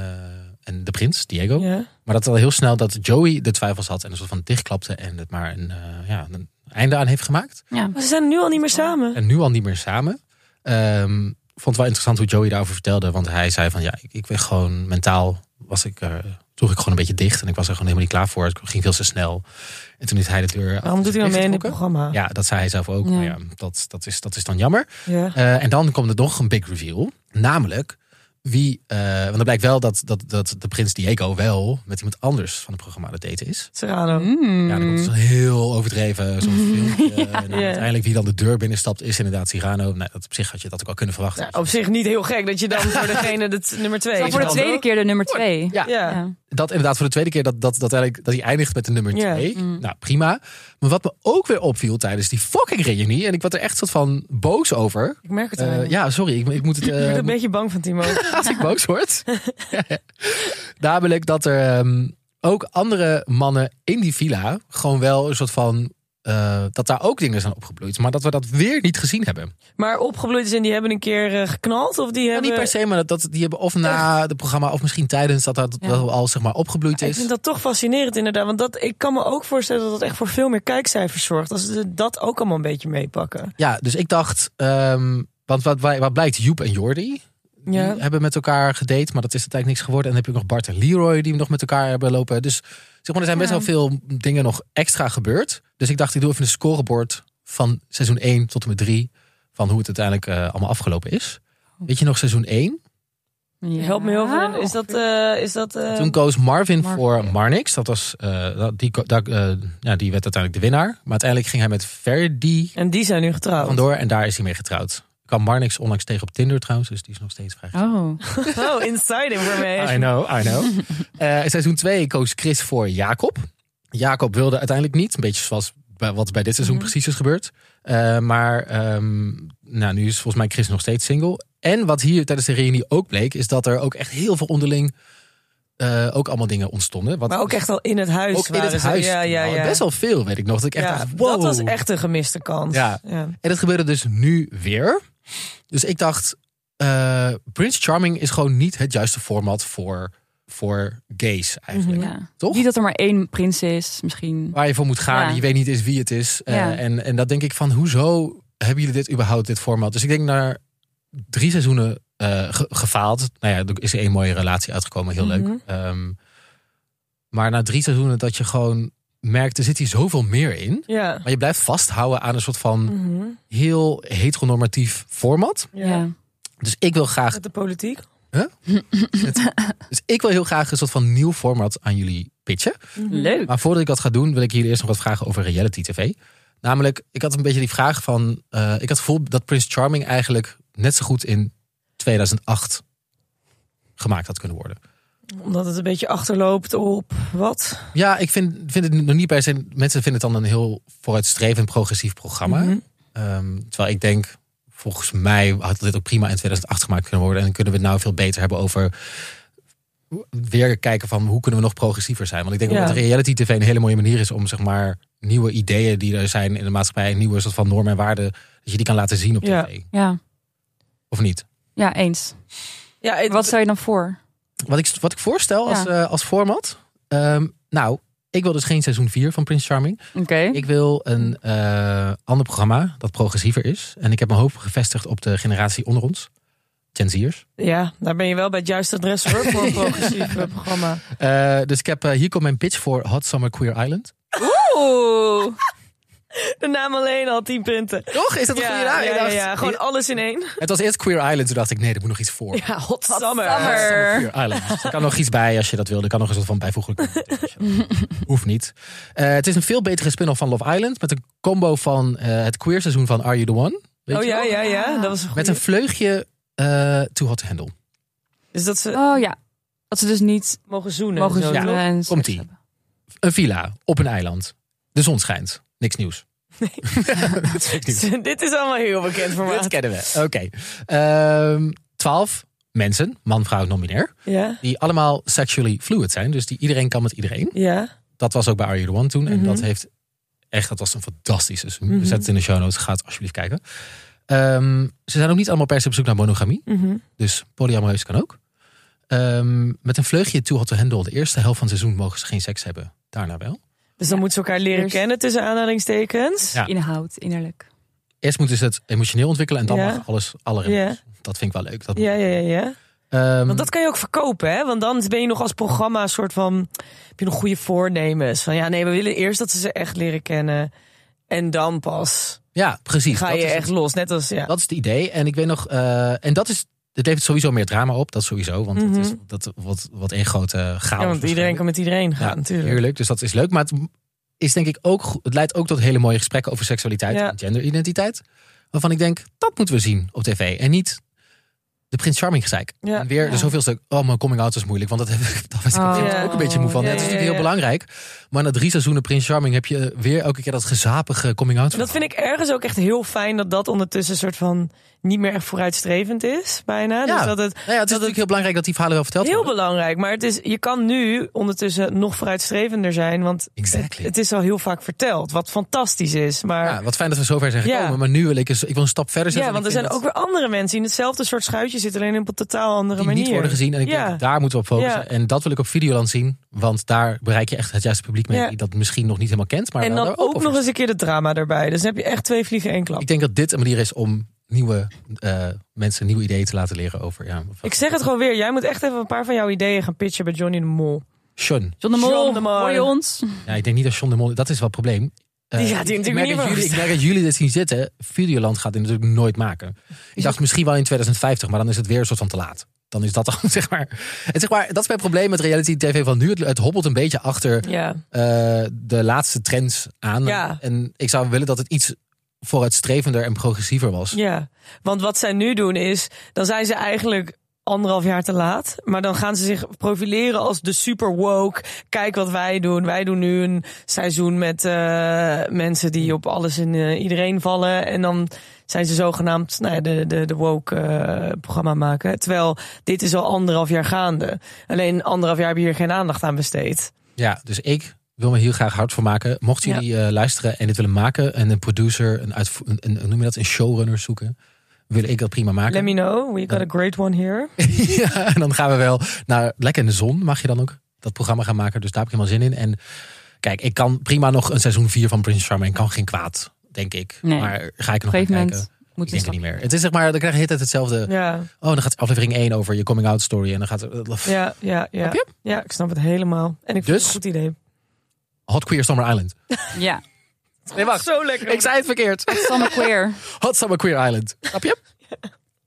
C: en de prins, Diego.
A: Ja.
C: Maar dat al heel snel dat Joey de twijfels had en een soort van dichtklapte en het maar een, eh, ja, een einde aan heeft gemaakt.
B: Ja.
A: Maar ze zijn nu al niet meer samen.
C: En nu al niet meer samen. Ehm, vond het wel interessant hoe Joey daarover vertelde. Want hij zei van ja, ik, ik ben gewoon mentaal. Was ik, eh droeg ik gewoon een beetje dicht. En ik was er gewoon helemaal niet klaar voor. Het ging veel te snel. En toen is hij de deur.
A: Waarom doet hij dan mee in dit
C: dichtgetrokken.
A: programma?
C: Ja, dat zei hij zelf ook.
B: Ja.
C: Maar ja, dat, dat, is, dat is dan jammer.
A: Ja.
C: Eh, en dan komt er nog een big reveal. Namelijk wie. eh, want dan blijkt wel dat, dat, dat de prins Diego wel met iemand anders van het programma aan het daten is.
A: Serrano.
C: Ja, dan komt zo'n heel overdreven zo'n filmpje. En dan
A: Ja.
C: uiteindelijk wie dan de deur binnenstapt is inderdaad Cyrano. Nou, dat op zich had je dat ook al kunnen verwachten.
A: Nou, op zich niet heel gek dat je dan voor degene dat nummer twee.
B: Voor de tweede keer de nummer twee.
C: Ja.
A: Ja.
B: Ja.
C: Dat inderdaad voor de tweede keer dat, dat, dat, eigenlijk, dat hij eindigt met de nummer
A: Ja.
C: twee. Nou, prima. Maar wat me ook weer opviel tijdens die fucking reunie... en ik werd er echt soort van boos over.
A: Ik merk het
C: Eh,
A: al.
C: ja, sorry, ik, ik moet het...
A: Ik
C: eh,
A: word een beetje bang van
C: *laughs*
A: Timo.
C: als ik boos word. *laughs* Namelijk dat er ehm, ook andere mannen in die villa... gewoon wel een soort van... eh, dat daar ook dingen zijn opgebloeid. Maar dat we dat weer niet gezien hebben.
A: Maar opgebloeid zijn, die hebben een keer eh, geknald? Of die
C: Nou,
A: hebben...
C: niet per se, maar dat, dat, die hebben of na het programma... of misschien tijdens dat dat, dat al zeg maar, opgebloeid
A: Ik
C: is.
A: vind dat toch fascinerend inderdaad. Want dat, ik kan me ook voorstellen dat dat echt voor veel meer kijkcijfers zorgt. Als ze dat ook allemaal een beetje meepakken.
C: Ja, dus ik dacht, ehm, want wat, wat, wat blijkt, Joep en Jordi die
A: Ja.
C: hebben met elkaar gedate, maar dat is uiteindelijk niks geworden. En dan heb je nog Bart en Leroy die nog met elkaar hebben lopen. Dus zeg maar, er zijn best wel veel dingen nog extra gebeurd. Dus ik dacht, ik doe even een scorebord van seizoen 1 tot en met 3 van hoe het uiteindelijk eh, allemaal afgelopen is.
A: Oh.
C: Weet je nog seizoen 1?
A: Help me heel veel. Is dat... eh, is dat eh,
C: Toen koos Ehm, Marvin
B: Marvin.
C: voor Marnix. Dat was, eh, dat- die, ko- daar, eh, ja, die werd uiteindelijk de winnaar. Maar uiteindelijk ging hij met Verdi
A: En die zijn nu getrouwd.
C: vandoor en daar is hij mee getrouwd. Ik kwam Marnix onlangs tegen op Tinder trouwens, dus die is nog steeds vrij.
B: Oh.
A: Oh, inside information.
C: I know, I know.
A: *laughs*
C: Eh, seizoen 2 koos Chris voor Jacob. Jacob wilde uiteindelijk niet. Een beetje zoals bij- wat bij dit seizoen
A: Mhm.
C: precies is gebeurd. Eh, maar ehm, nou, nu is volgens mij Chris nog steeds single. En wat hier tijdens de reunie ook bleek... is dat er ook echt heel veel onderling... eh, ook allemaal dingen ontstonden. Wat
A: Maar ook echt al in het huis.
C: ook in
A: waren
C: het
A: ze.
C: huis. Nou,
A: Ja, ja, ja.
C: Best wel veel, weet ik nog. Dat ik echt
A: Ja,
C: dacht, wow.
A: Dat was echt een gemiste kans.
C: Ja. En dat gebeurde dus nu weer. Dus ik dacht, eh, Prince Charming is gewoon niet het juiste format voor, voor gays eigenlijk.
B: Mhm, Ja.
C: Toch?
B: Niet dat er maar één prins is, misschien.
C: Waar je voor moet gaan,
B: Ja.
C: je weet niet eens wie het is. Eh,
B: Ja.
C: en, en dat denk ik van, hoezo hebben jullie dit überhaupt, dit format? Dus ik denk naar drie seizoenen eh, ge- gefaald. Nou ja, er is één mooie relatie uitgekomen, heel
A: Mhm.
C: leuk. Ehm, maar na drie seizoenen dat je gewoon merkt, er zit hier zoveel meer in.
A: Ja.
C: Maar je blijft vasthouden aan een soort van
A: Mhm.
C: heel heteronormatief format.
A: ja.
C: Dus ik wil graag,
A: Met de politiek.
C: dus ik wil heel graag een soort van nieuw format aan jullie pitchen.
B: Leuk.
C: Maar voordat ik dat ga doen, wil ik jullie eerst nog wat vragen over reality tv. Namelijk, ik had een beetje die vraag van, eh, ik had het gevoel dat Prince Charming eigenlijk net zo goed in 2008 gemaakt had kunnen worden.
A: Omdat het een beetje achterloopt op wat.
C: Ja, ik vind, vind het nog niet per se. Mensen vinden het dan een heel vooruitstrevend progressief programma.
A: Mhm.
C: Ehm, terwijl ik denk, volgens mij had dit ook prima in 2008 gemaakt kunnen worden. En kunnen we het nou veel beter hebben over weer kijken van hoe kunnen we nog progressiever zijn. Want ik denk
A: Ja.
C: ook dat reality tv een hele mooie manier is om zeg maar nieuwe ideeën die er zijn in de maatschappij, nieuwe soort van normen en waarden, dat je die kan laten zien op
A: Ja.
C: tv.
B: Ja.
C: Of niet?
B: ja, eens.
A: Ja, het-
B: Wat stel je dan voor?
C: Wat ik, wat ik voorstel als, eh, als format. ehm, nou, ik wil dus geen seizoen 4 van Prince Charming.
B: Oké.
C: Ik wil een eh, ander programma dat progressiever is. En ik heb mijn hoop gevestigd op de generatie onder ons. Gen Z'ers.
A: ja, daar ben je wel bij het juiste adres voor, voor een progressief eh, programma.
C: Eh, dus ik heb, eh, hier komt mijn pitch voor Hot Summer Queer Island.
A: Oeh. De naam alleen al 10 punten.
C: Toch? Is dat een
A: Ja,
C: goede naam?
A: ja,
C: Ik
A: ja,
C: dacht-
A: ja, gewoon alles in één.
C: Het was eerst Queer Island. Toen dacht ik, nee, er moet nog iets voor.
A: Ja, hot
B: summer.
C: Queer Island. Dus er kan nog iets bij als je dat wil. Er kan nog een soort van
A: *laughs*
C: bijvoeglijk. Hoeft niet. Eh, het is een veel betere spin-off van Love Island. Met een combo van eh, het queer seizoen van Are You The One. Weet
A: Oh
C: je
A: ja,
C: wel?
A: ja, ja. Dat was een
C: Met een
A: goeie.
C: vleugje eh Too Hot To Handle.
A: Dus dat ze
B: Oh ja. Dat ze dus niet
A: mogen zoenen.
B: mogen
A: zo,
B: zoenen.
A: toch?
B: en seks
C: Komt-ie.
B: hebben.
C: Een villa op een eiland. De zon schijnt. Niks nieuws. Nee. Dat is niks nieuws.
A: *laughs* Dit is allemaal heel bekend voor
C: Dat
A: mij.
C: kennen we. Oké. Ehm, Twaalf mensen, man, vrouw, non-binair,
A: Ja,
C: die allemaal sexually fluid zijn. Dus die iedereen kan met iedereen.
A: ja.
C: Dat was ook bij Are You The One toen. En dat heeft echt, dat was een fantastisch seizoen. We zetten het in de show notes. Ga het alsjeblieft kijken. Ehm, ze zijn ook niet allemaal per se op zoek naar monogamie.
A: Mhm.
C: Dus polyamoreus kan ook. Ehm, met een vleugje Too Hot To Handle. De eerste helft van het seizoen mogen ze geen seks hebben. Daarna wel.
A: Dus dan moeten ze elkaar leren
B: Eerst-
A: kennen tussen aanhalingstekens.
C: Ja.
B: Inhoud, innerlijk.
C: Eerst moeten ze het emotioneel ontwikkelen en dan
A: Ja.
C: mag alles
A: Ja.
C: alle relaties. Dat vind ik wel leuk. Dat,
A: Ja, ja, ja. ja.
C: Ehm,
A: Want dat kan je ook verkopen, hè? Want dan ben je nog als programma een soort van... Heb je nog goede voornemens? Van ja, nee, we willen eerst dat ze ze echt leren kennen. En dan pas
C: ja, precies.
A: ga
C: dat
A: je
C: is
A: echt los. Net als, ja.
C: Dat is het idee. En ik weet nog, eh, en dat is, het levert sowieso meer drama op, dat sowieso. Want het is dat, wat, wat één grote chaos.
A: Mhm. Ja, want iedereen kan met iedereen gaan, natuurlijk.
C: Heerlijk, dus dat is leuk. Maar het is denk ik ook, go- het leidt ook tot hele mooie gesprekken over seksualiteit
A: Ja.
C: en genderidentiteit. Waarvan ik denk, dat moeten we zien op tv. En niet de Prins Charming gezeik.
A: Ja.
C: En weer de zoveelste, oh mijn coming out is moeilijk. Want dat, heb ik, *laughs* dat werd ik op
B: Oh.
C: tv
A: Ja.
C: ook een beetje moe van.
A: Ja,
C: het is
A: ja,
C: natuurlijk heel
A: ja.
C: belangrijk. Maar na drie seizoenen Prins Charming heb je eh, weer elke keer dat gezapige coming out.
A: Dat vind ik ergens ook echt heel fijn dat dat ondertussen een soort van niet meer echt vooruitstrevend is, bijna.
C: Ja.
A: Dus dat het,
C: Nou ja, het is
A: dat
C: natuurlijk heel belangrijk dat die verhalen wel verteld
A: heel
C: worden.
A: belangrijk. Maar het is, je kan nu ondertussen nog vooruitstrevender zijn, want
C: Exactly.
A: het is al heel vaak verteld, wat fantastisch is. Maar
C: Ja, wat fijn dat we zover zijn
A: Ja.
C: gekomen. Maar nu wil ik, eens, ik wil een stap verder zetten.
A: ja, want er
C: ik
A: zijn
C: vind
A: ook
C: dat
A: weer andere mensen die in hetzelfde soort schuitje zitten, alleen op een totaal andere
C: die
A: manier.
C: niet worden gezien. En ik
A: Ja.
C: denk, daar moeten we op focussen.
A: Ja.
C: En dat wil ik op Videoland zien. Want daar bereik je echt het juiste publiek mee.
A: Ja.
C: Die dat misschien nog niet helemaal kent. Maar
A: en
C: wel
A: dan
C: daar open
A: ook
C: voor
A: nog eens een keer het drama erbij. Dus dan heb je echt twee vliegen in één klap.
C: is. Ik
A: Ik,
C: denk dat dit een manier is om nieuwe eh, mensen nieuwe ideeën te laten leren over. Ja,
A: zeg het gewoon weer, jij moet echt even een paar van jouw ideeën gaan pitchen bij Johnny de Mol.
C: Sean.
B: John de Mol,
A: John de Mol.
B: hoor je ons?
C: Ja, ik denk niet dat Sean de Mol... Dat is wel het probleem. Eh,
A: Die gaat hier
C: ik
A: natuurlijk
C: merk
A: niet
C: dat
A: voor
C: jullie, Ik merk dat jullie dit zien zitten. Videoland gaat dit natuurlijk nooit maken. Ik dacht misschien wel in 2050, maar dan is het weer een soort van te laat. Dan is dat dan, *laughs* zeg maar... En zeg maar, dat is mijn probleem met reality tv van nu. Het, het hobbelt een beetje achter
A: Ja.
C: eh, de laatste trends aan.
A: Ja.
C: En ik zou willen dat het iets vooruitstrevender en progressiever was.
A: Ja, want wat zij nu doen is, dan zijn ze eigenlijk anderhalf jaar te laat. Maar dan gaan ze zich profileren als de super woke. Kijk wat wij doen. Wij doen nu een seizoen met eh, mensen die op alles en eh, iedereen vallen. En dan zijn ze zogenaamd nou ja, de, de, de woke eh, programma maken. Terwijl dit is al anderhalf jaar gaande. Alleen anderhalf jaar hebben we hier geen aandacht aan besteed.
C: Ja, dus ik wil me hier graag hard voor maken. Mochten
A: Ja.
C: jullie eh, luisteren en dit willen maken... en een producer, een, uitvo- een, een- hoe noem je dat, een showrunner zoeken... wil ik dat prima maken.
A: Let me know, we got a great one here.
C: ja, *laughs* en dan gaan we wel naar Lekker in de Zon. Mag je dan ook dat programma gaan maken? Dus daar heb ik helemaal zin in. En kijk, ik kan prima nog een seizoen 4 van Prince Charming. Kan geen kwaad, denk ik.
B: Nee.
C: Maar ga ik er
B: Op een
C: nog naar
B: gegeven
C: kijken?
B: moment
C: Ik
B: moet
C: denk het
B: het
C: niet meer. Het is zeg maar, dan krijg je de hele tijd hetzelfde.
A: Ja,
C: Oh, dan gaat aflevering 1 over je coming out story. En dan gaat eh,
A: ja, ja. Ja,
C: Snap je?
A: ja ik snap het helemaal. En ik vind het
C: Dus?
A: een goed idee.
C: Hot Queer Summer Island.
B: Ja,
C: Nee, wacht.
A: Zo lekker.
C: Ik zei het verkeerd.
B: Sander Queer.
C: Hot Summer Queer Island. Snap je?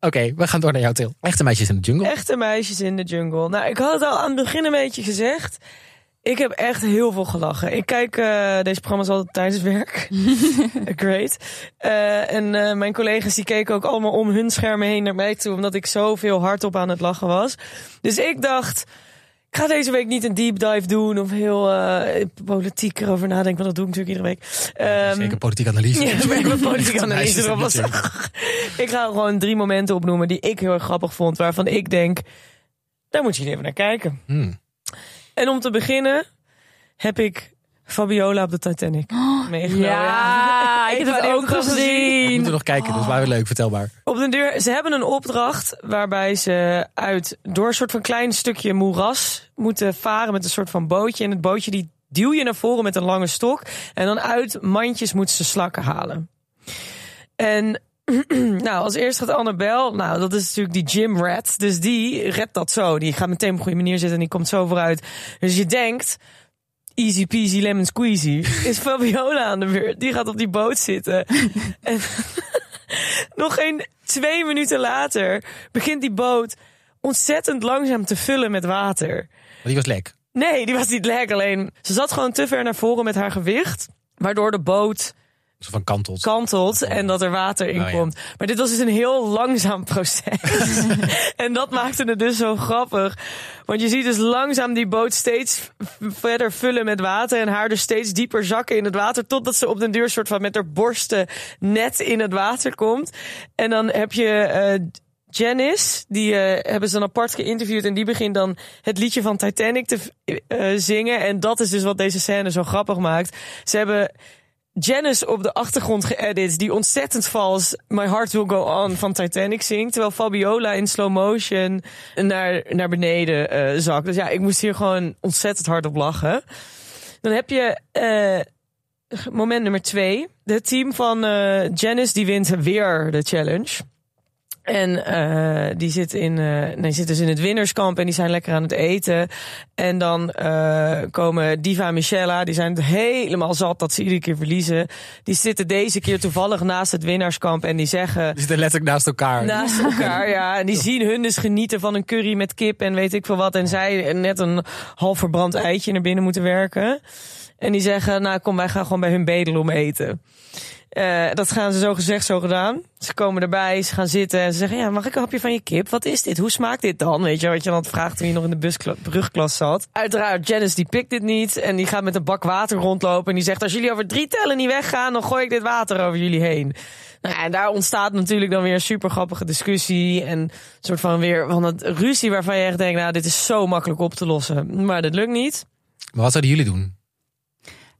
C: Oké, we gaan door naar jouw til. Echte meisjes in de jungle.
A: Echte meisjes in de jungle. Nou, ik had het al aan het begin een beetje gezegd. Ik heb echt heel veel gelachen. Ik kijk eh, deze programma's altijd tijdens het
C: *laughs*
A: werk. Great. Eh, en eh, mijn collega's die keken ook allemaal om hun schermen heen naar mij toe. Omdat ik zoveel hardop aan het lachen was. Dus ik dacht, ik ga deze week niet een deep dive doen. Of heel eh, politiek erover nadenken. Want dat doe ik natuurlijk iedere week. Ehm,
C: Zeker politieke analyse. *laughs*
A: ja, maar *laughs* ik ben
B: *laughs*
A: politiek
C: Echte meisjes
A: analyse
C: in de
A: erop was. *laughs*
C: jungle.
A: Ik ga gewoon drie momenten opnoemen die ik heel erg grappig vond. Waarvan ik denk, daar moet je even naar kijken.
C: Hmm.
A: En om te beginnen heb ik Fabiola op de Titanic
B: *gasps*
A: meegenomen.
B: Ja, ik heb
A: Eva,
B: het
A: die
B: ook
A: heeft het al
C: We
B: gezien.
C: moeten nog kijken, dus waar we leuk, vertelbaar.
A: Op den deur, ze hebben een opdracht waarbij ze uit door een soort van klein stukje moeras moeten varen met een soort van bootje. En het bootje die duw je naar voren met een lange stok. En dan uit mandjes moeten ze slakken halen. En *clears throat* nou, als eerst gaat Annabel. Nou, dat is natuurlijk die gym rat. Dus die redt dat zo. Die gaat meteen op een goede manier zitten en die komt zo vooruit. Dus je denkt, easy peasy lemon squeezy. Is Fabiola aan de beurt. Die gaat op die boot zitten. en nog geen twee minuten later begint die boot ontzettend langzaam te vullen met water.
C: Maar die was lek.
A: Nee, die was niet lek. Alleen ze zat gewoon te ver naar voren met haar gewicht. Waardoor de boot
C: Zo van kantels.
A: kantelt en dat er water in
C: Oh ja.
A: komt. Maar dit was dus een heel langzaam proces. en dat maakte het dus zo grappig. Want je ziet dus langzaam die boot steeds v- verder vullen met water. En haar dus steeds dieper zakken in het water. Totdat ze op den duur soort van met haar borsten net in het water komt. En dan heb je. eh, Janice, die eh, hebben ze dan apart geïnterviewd. En die begint dan het liedje van Titanic te v- eh, zingen. En dat is dus wat deze scène zo grappig maakt. Ze hebben Janice op de achtergrond geëdit. Die ontzettend vals My Heart Will Go On van Titanic zingt. Terwijl Fabiola in slow motion naar, naar beneden eh zakt. Dus ja, ik moest hier gewoon ontzettend hard op lachen. Dan heb je eh, moment nummer twee. Het team van eh, Janice die wint weer de challenge. En eh, die, zit in, eh, nee, die zit dus in het winnerskamp en die zijn lekker aan het eten. En dan eh, komen Diva en Michella, die zijn het helemaal zat dat ze iedere keer verliezen. Die zitten deze keer toevallig naast het winnaarskamp en die zeggen...
C: Die zitten letterlijk naast elkaar.
A: Naast elkaar, ja. En die zien hun dus genieten van een curry met kip en weet ik veel wat. En zij net een half verbrand eitje naar binnen moeten werken. En die zeggen, nou kom, wij gaan gewoon bij hun bedelen om eten. Eh, dat gaan ze zo gezegd, zo gedaan. Ze komen erbij, ze gaan zitten en ze zeggen... ja, mag ik een hapje van je kip? Wat is dit? Hoe smaakt dit dan? Weet je, wat je dan vraagt toen je nog in de buskla- brugklas zat. Uiteraard, Janice die pikt dit niet en die gaat met een bak water rondlopen... en die zegt, als jullie over drie tellen niet weggaan... dan gooi ik dit water over jullie heen. Nou ja, en daar ontstaat natuurlijk dan weer een super grappige discussie... en een soort van weer van het ruzie waarvan je echt denkt... nou, dit is zo makkelijk op te lossen, maar dat lukt niet.
C: Maar wat zouden jullie doen?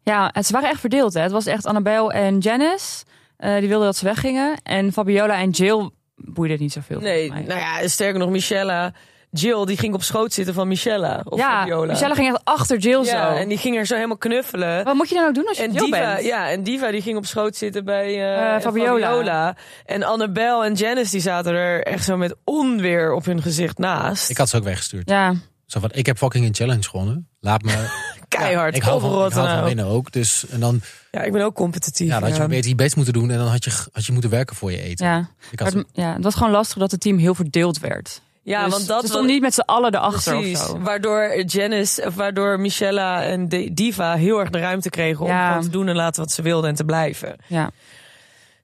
B: Ja, het- ze waren echt verdeeld. Hè. Het was echt Annabel en Janice. eh, die wilden dat ze weggingen. En Fabiola en Jill boeide het niet zoveel.
A: Nee,
B: volgens mij.
A: nou ja, sterker nog, Michella. Jill, die ging op schoot zitten van Michella. Of
B: ja,
A: Fabiola.
B: Michelle ging echt achter
A: ja,
B: Jill zo.
A: en die ging er zo helemaal knuffelen.
B: Wat moet je dan ook doen als je
A: En
B: Jill
A: Diva,
B: bent?
A: ja, en Diva die ging op schoot zitten bij eh,
B: Eh, Fabiola.
A: En Annabel en Janice die zaten er echt zo met onweer op hun gezicht naast.
C: Ik had ze ook weggestuurd.
B: Ja.
C: Zo van, ik heb fucking een challenge gewonnen. Laat
A: *laughs*
C: me...
A: Keihard,
C: ik hou van, ik
A: overrotten
C: hou van
A: nou.
C: winnen ook. Dus, en dan,
A: Ja, ik ben ook competitief.
C: ja, dan had je
A: ja.
C: beter je best moeten doen. En dan had je, had je moeten werken voor je eten.
B: Ja.
C: Ik
B: Maar
C: had
B: het, ja, het was gewoon lastig dat het team heel verdeeld werd.
A: Ja,
B: Dus
A: want dat
B: ze
A: was
B: stonden niet met z'n allen erachter
A: precies.
B: of zo.
A: Waardoor Janice, of waardoor Michella en De- Diva heel erg de ruimte kregen om
B: Ja.
A: gewoon te doen en laten wat ze wilden en te blijven.
B: Ja.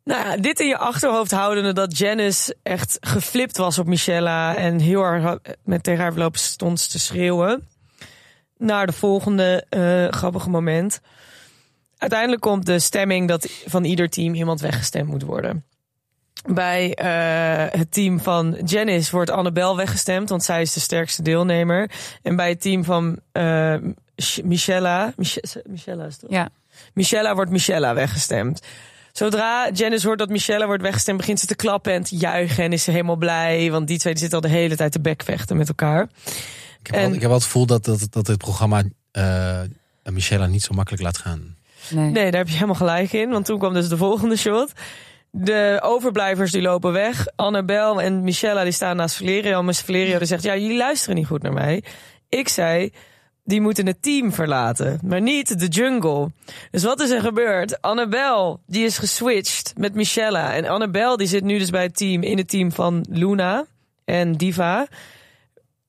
A: Nou ja, dit in je achterhoofd houdende dat Janice echt geflipt was op Michella en heel erg ha- met tegen haar verloop stond te schreeuwen. Naar de volgende eh, grappige moment. Uiteindelijk komt de stemming dat van ieder team iemand weggestemd moet worden. Bij eh, het team van Janice wordt Annabel weggestemd, want zij is de sterkste deelnemer. En bij het team van eh, Mich- Michella, Mich- Michella is het toch?
B: Ja.
A: Michella wordt Michella weggestemd. Zodra Janice hoort dat Michelle wordt weggestemd, begint ze te klappen en te juichen. En is ze helemaal blij, want die twee die zitten al de hele tijd te bekvechten met elkaar.
C: Ik heb, wel,
A: En-
C: ik heb wel het gevoel dat, dat, dat het programma eh Michelle niet zo makkelijk laat gaan.
B: Nee.
A: Nee, daar heb je helemaal gelijk in, want toen kwam dus de volgende shot. De overblijvers die lopen weg. Annabel en Michella die staan naast Valerio. Maar Valerio die zegt, ja, jullie luisteren niet goed naar mij. Ik zei, die moeten het team verlaten, maar niet de jungle. Dus wat is er gebeurd? Annabel, die is geswitcht met Michella. En Annabel, die zit nu dus bij het team, in het team van Luna en Diva. *laughs*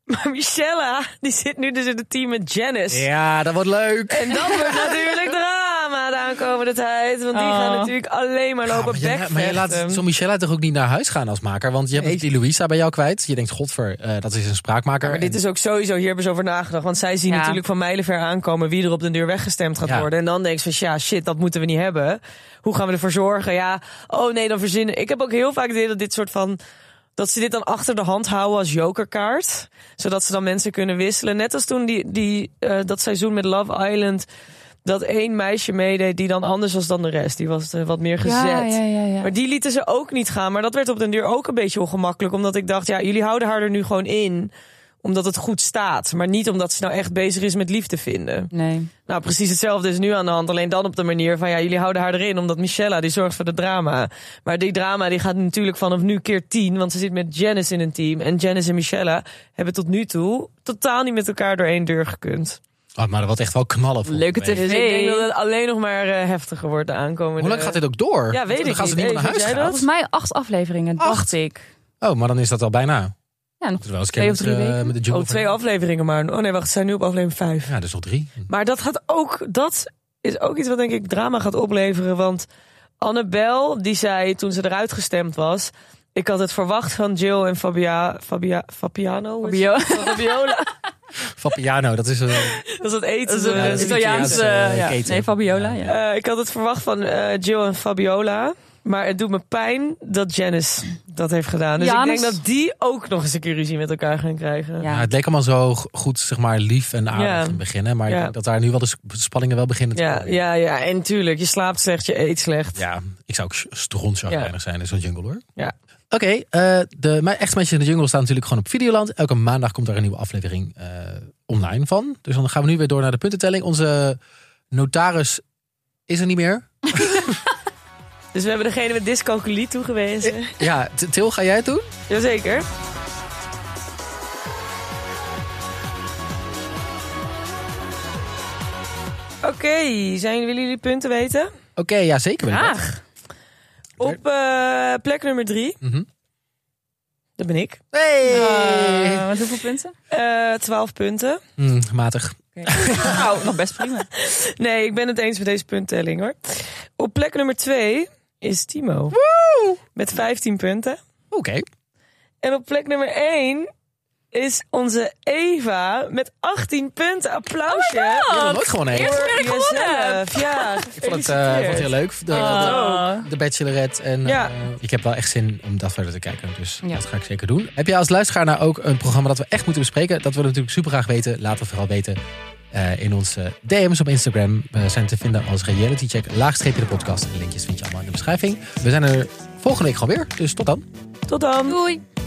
A: Maar Michella, die zit nu dus in het team met Janice.
C: Ja, dat wordt leuk.
A: En dat *laughs* wordt natuurlijk drama de aankomende tijd. Want die
B: Oh.
A: gaan natuurlijk alleen maar lopen
C: Oh, maar,
A: bekvechten.
C: je, maar je laat zo Michelle toch ook niet naar huis gaan als maker? Want je hebt die Louisa bij jou kwijt. Je denkt, godver, eh, dat is een spraakmaker.
A: Maar dit is ook sowieso, hier hebben ze over nagedacht. Want zij zien
B: Ja.
A: natuurlijk van mijlenver aankomen wie er op de deur weggestemd gaat
C: Ja.
A: worden. En dan denk ze van, ja, shit, dat moeten we niet hebben. Hoe gaan we ervoor zorgen? Ja, oh nee, dan verzinnen. Ik heb ook heel vaak het idee dat dit soort van... Dat ze dit dan achter de hand houden als jokerkaart. Zodat ze dan mensen kunnen wisselen. Net als toen die, die, eh, dat seizoen met Love Island. Dat één meisje meedeed die dan anders was dan de rest. Die was eh, wat meer gezet.
B: Ja, ja, ja, ja.
A: Maar die lieten ze ook niet gaan. Maar dat werd op den duur ook een beetje ongemakkelijk. Omdat ik dacht, ja, jullie houden haar er nu gewoon in. Omdat het goed staat. Maar niet omdat ze nou echt bezig is met liefde vinden.
B: Nee.
A: Nou, precies hetzelfde is nu aan de hand. Alleen dan op de manier van, ja, jullie houden haar erin. Omdat Michella, die zorgt voor de drama. Maar die drama, die gaat natuurlijk vanaf nu keer tien. Want ze zit met Janice in een team. En Janice en Michella hebben tot nu toe totaal niet met elkaar door één deur gekund.
C: Oh, maar dat wordt echt wel knallen. volgende
B: Leuke
C: week.
B: tv.
A: Dus ik denk dat het alleen nog maar eh, heftiger wordt de aankomende... eh,
C: Hoe lang gaat dit ook door?
A: Ja, weet
C: dan
A: ik
C: gaan ze
A: niet.
C: niet meer naar
A: Hey,
C: huis
A: vind jij
C: gaan.
B: Volgens mij acht afleveringen, dacht ik.
C: Oh, maar dan is dat al bijna.
B: Ja, nog
C: Moeten we wel eens
B: twee
C: keer
B: of
C: met,
B: drie
C: eh,
B: weken.
C: met de jungle
A: Oh, twee
C: verder.
A: afleveringen maar. Oh nee, wacht, ze zijn nu op aflevering vijf.
C: Ja, dus
A: *laughs*
C: nog drie.
A: Maar dat gaat ook, dat is ook iets wat denk ik drama gaat opleveren. Want Annabel, die zei toen ze eruit gestemd was. Ik had het verwacht van Jill en Fabia, Fabia, Fabiano. hoe heet
B: Fabio. *laughs*
A: ze? Fabiola.
C: Fabiano, dat is... eh,
A: *laughs* dat is het eten.
B: Dat is een
A: eh,
C: is
B: Italiaanse...
C: Italiaanse,
B: ja.
C: keten.
B: Nee, Fabiola, ja.
A: eh, ik had het verwacht van eh, Jill en Fabiola. Maar het doet me pijn dat Janice dat heeft gedaan. Dus ik
B: Janus.
A: denk dat die ook nog eens een keer ruzie met elkaar gaan krijgen.
B: Ja.
C: nou, het leek allemaal zo g- goed, zeg maar, lief en aardig
A: Ja.
C: in het begin. hè, Maar ik
A: Ja.
C: denk dat daar nu wel de sp- spanningen wel beginnen te
A: Ja,
C: komen.
A: ja, ja. en tuurlijk, je slaapt slecht, je eet slecht.
C: Ja, ik zou ook strontjagreinig zijn in zo'n jungle hoor.
A: Ja.
C: Oké, eh, de mijn Echt Meisjes in de Jungle staat natuurlijk gewoon op Videoland. Elke maandag komt daar een nieuwe aflevering eh, online van. Dus dan gaan we nu weer door naar de puntentelling. Onze Notaris is er niet meer.
A: Dus we hebben degene met dyscalculie
B: *laughs*
A: toegewezen.
C: Ja, T- Til, ga jij het doen?
A: Jazeker. Oké, zijn willen jullie punten weten?
C: Oké, ja, zeker ben ik dat.
A: Graag. Op eh, plek nummer drie.
C: Mhm.
A: Dat ben ik.
C: Hey!
B: Eh, want hoeveel punten?
A: Eh 12 punten.
C: Hmm, matig.
B: *laughs* Nou, nog best prima.
A: *laughs* Nee, ik ben het eens met deze punttelling hoor. Op plek nummer 2 is Timo. Met 15 punten.
C: Oké.
A: En op plek nummer 1 is onze Eva met 18 punten. Applausje.
C: Je hebt nog nooit gewoon heen.
A: Voor
C: Ik
B: weer gewonnen.
A: jezelf. Ja,
C: vond het, eh, vond het heel leuk. De, de-
A: Oh.
C: de Bachelorette. En
A: Ja.
C: eh, ik heb wel echt zin om dat verder te kijken. Dus
B: Ja.
C: dat ga ik zeker doen. Heb jij als luisteraar nou ook een programma dat we echt moeten bespreken? Dat willen we natuurlijk super graag weten. Laat het vooral weten eh, in onze DM's op Instagram. We zijn te vinden als realitycheck. Laagstreepje de podcast. De linkjes vind je allemaal in de beschrijving. We zijn er volgende week gewoon weer. Dus tot dan.
A: Tot dan.
B: Doei.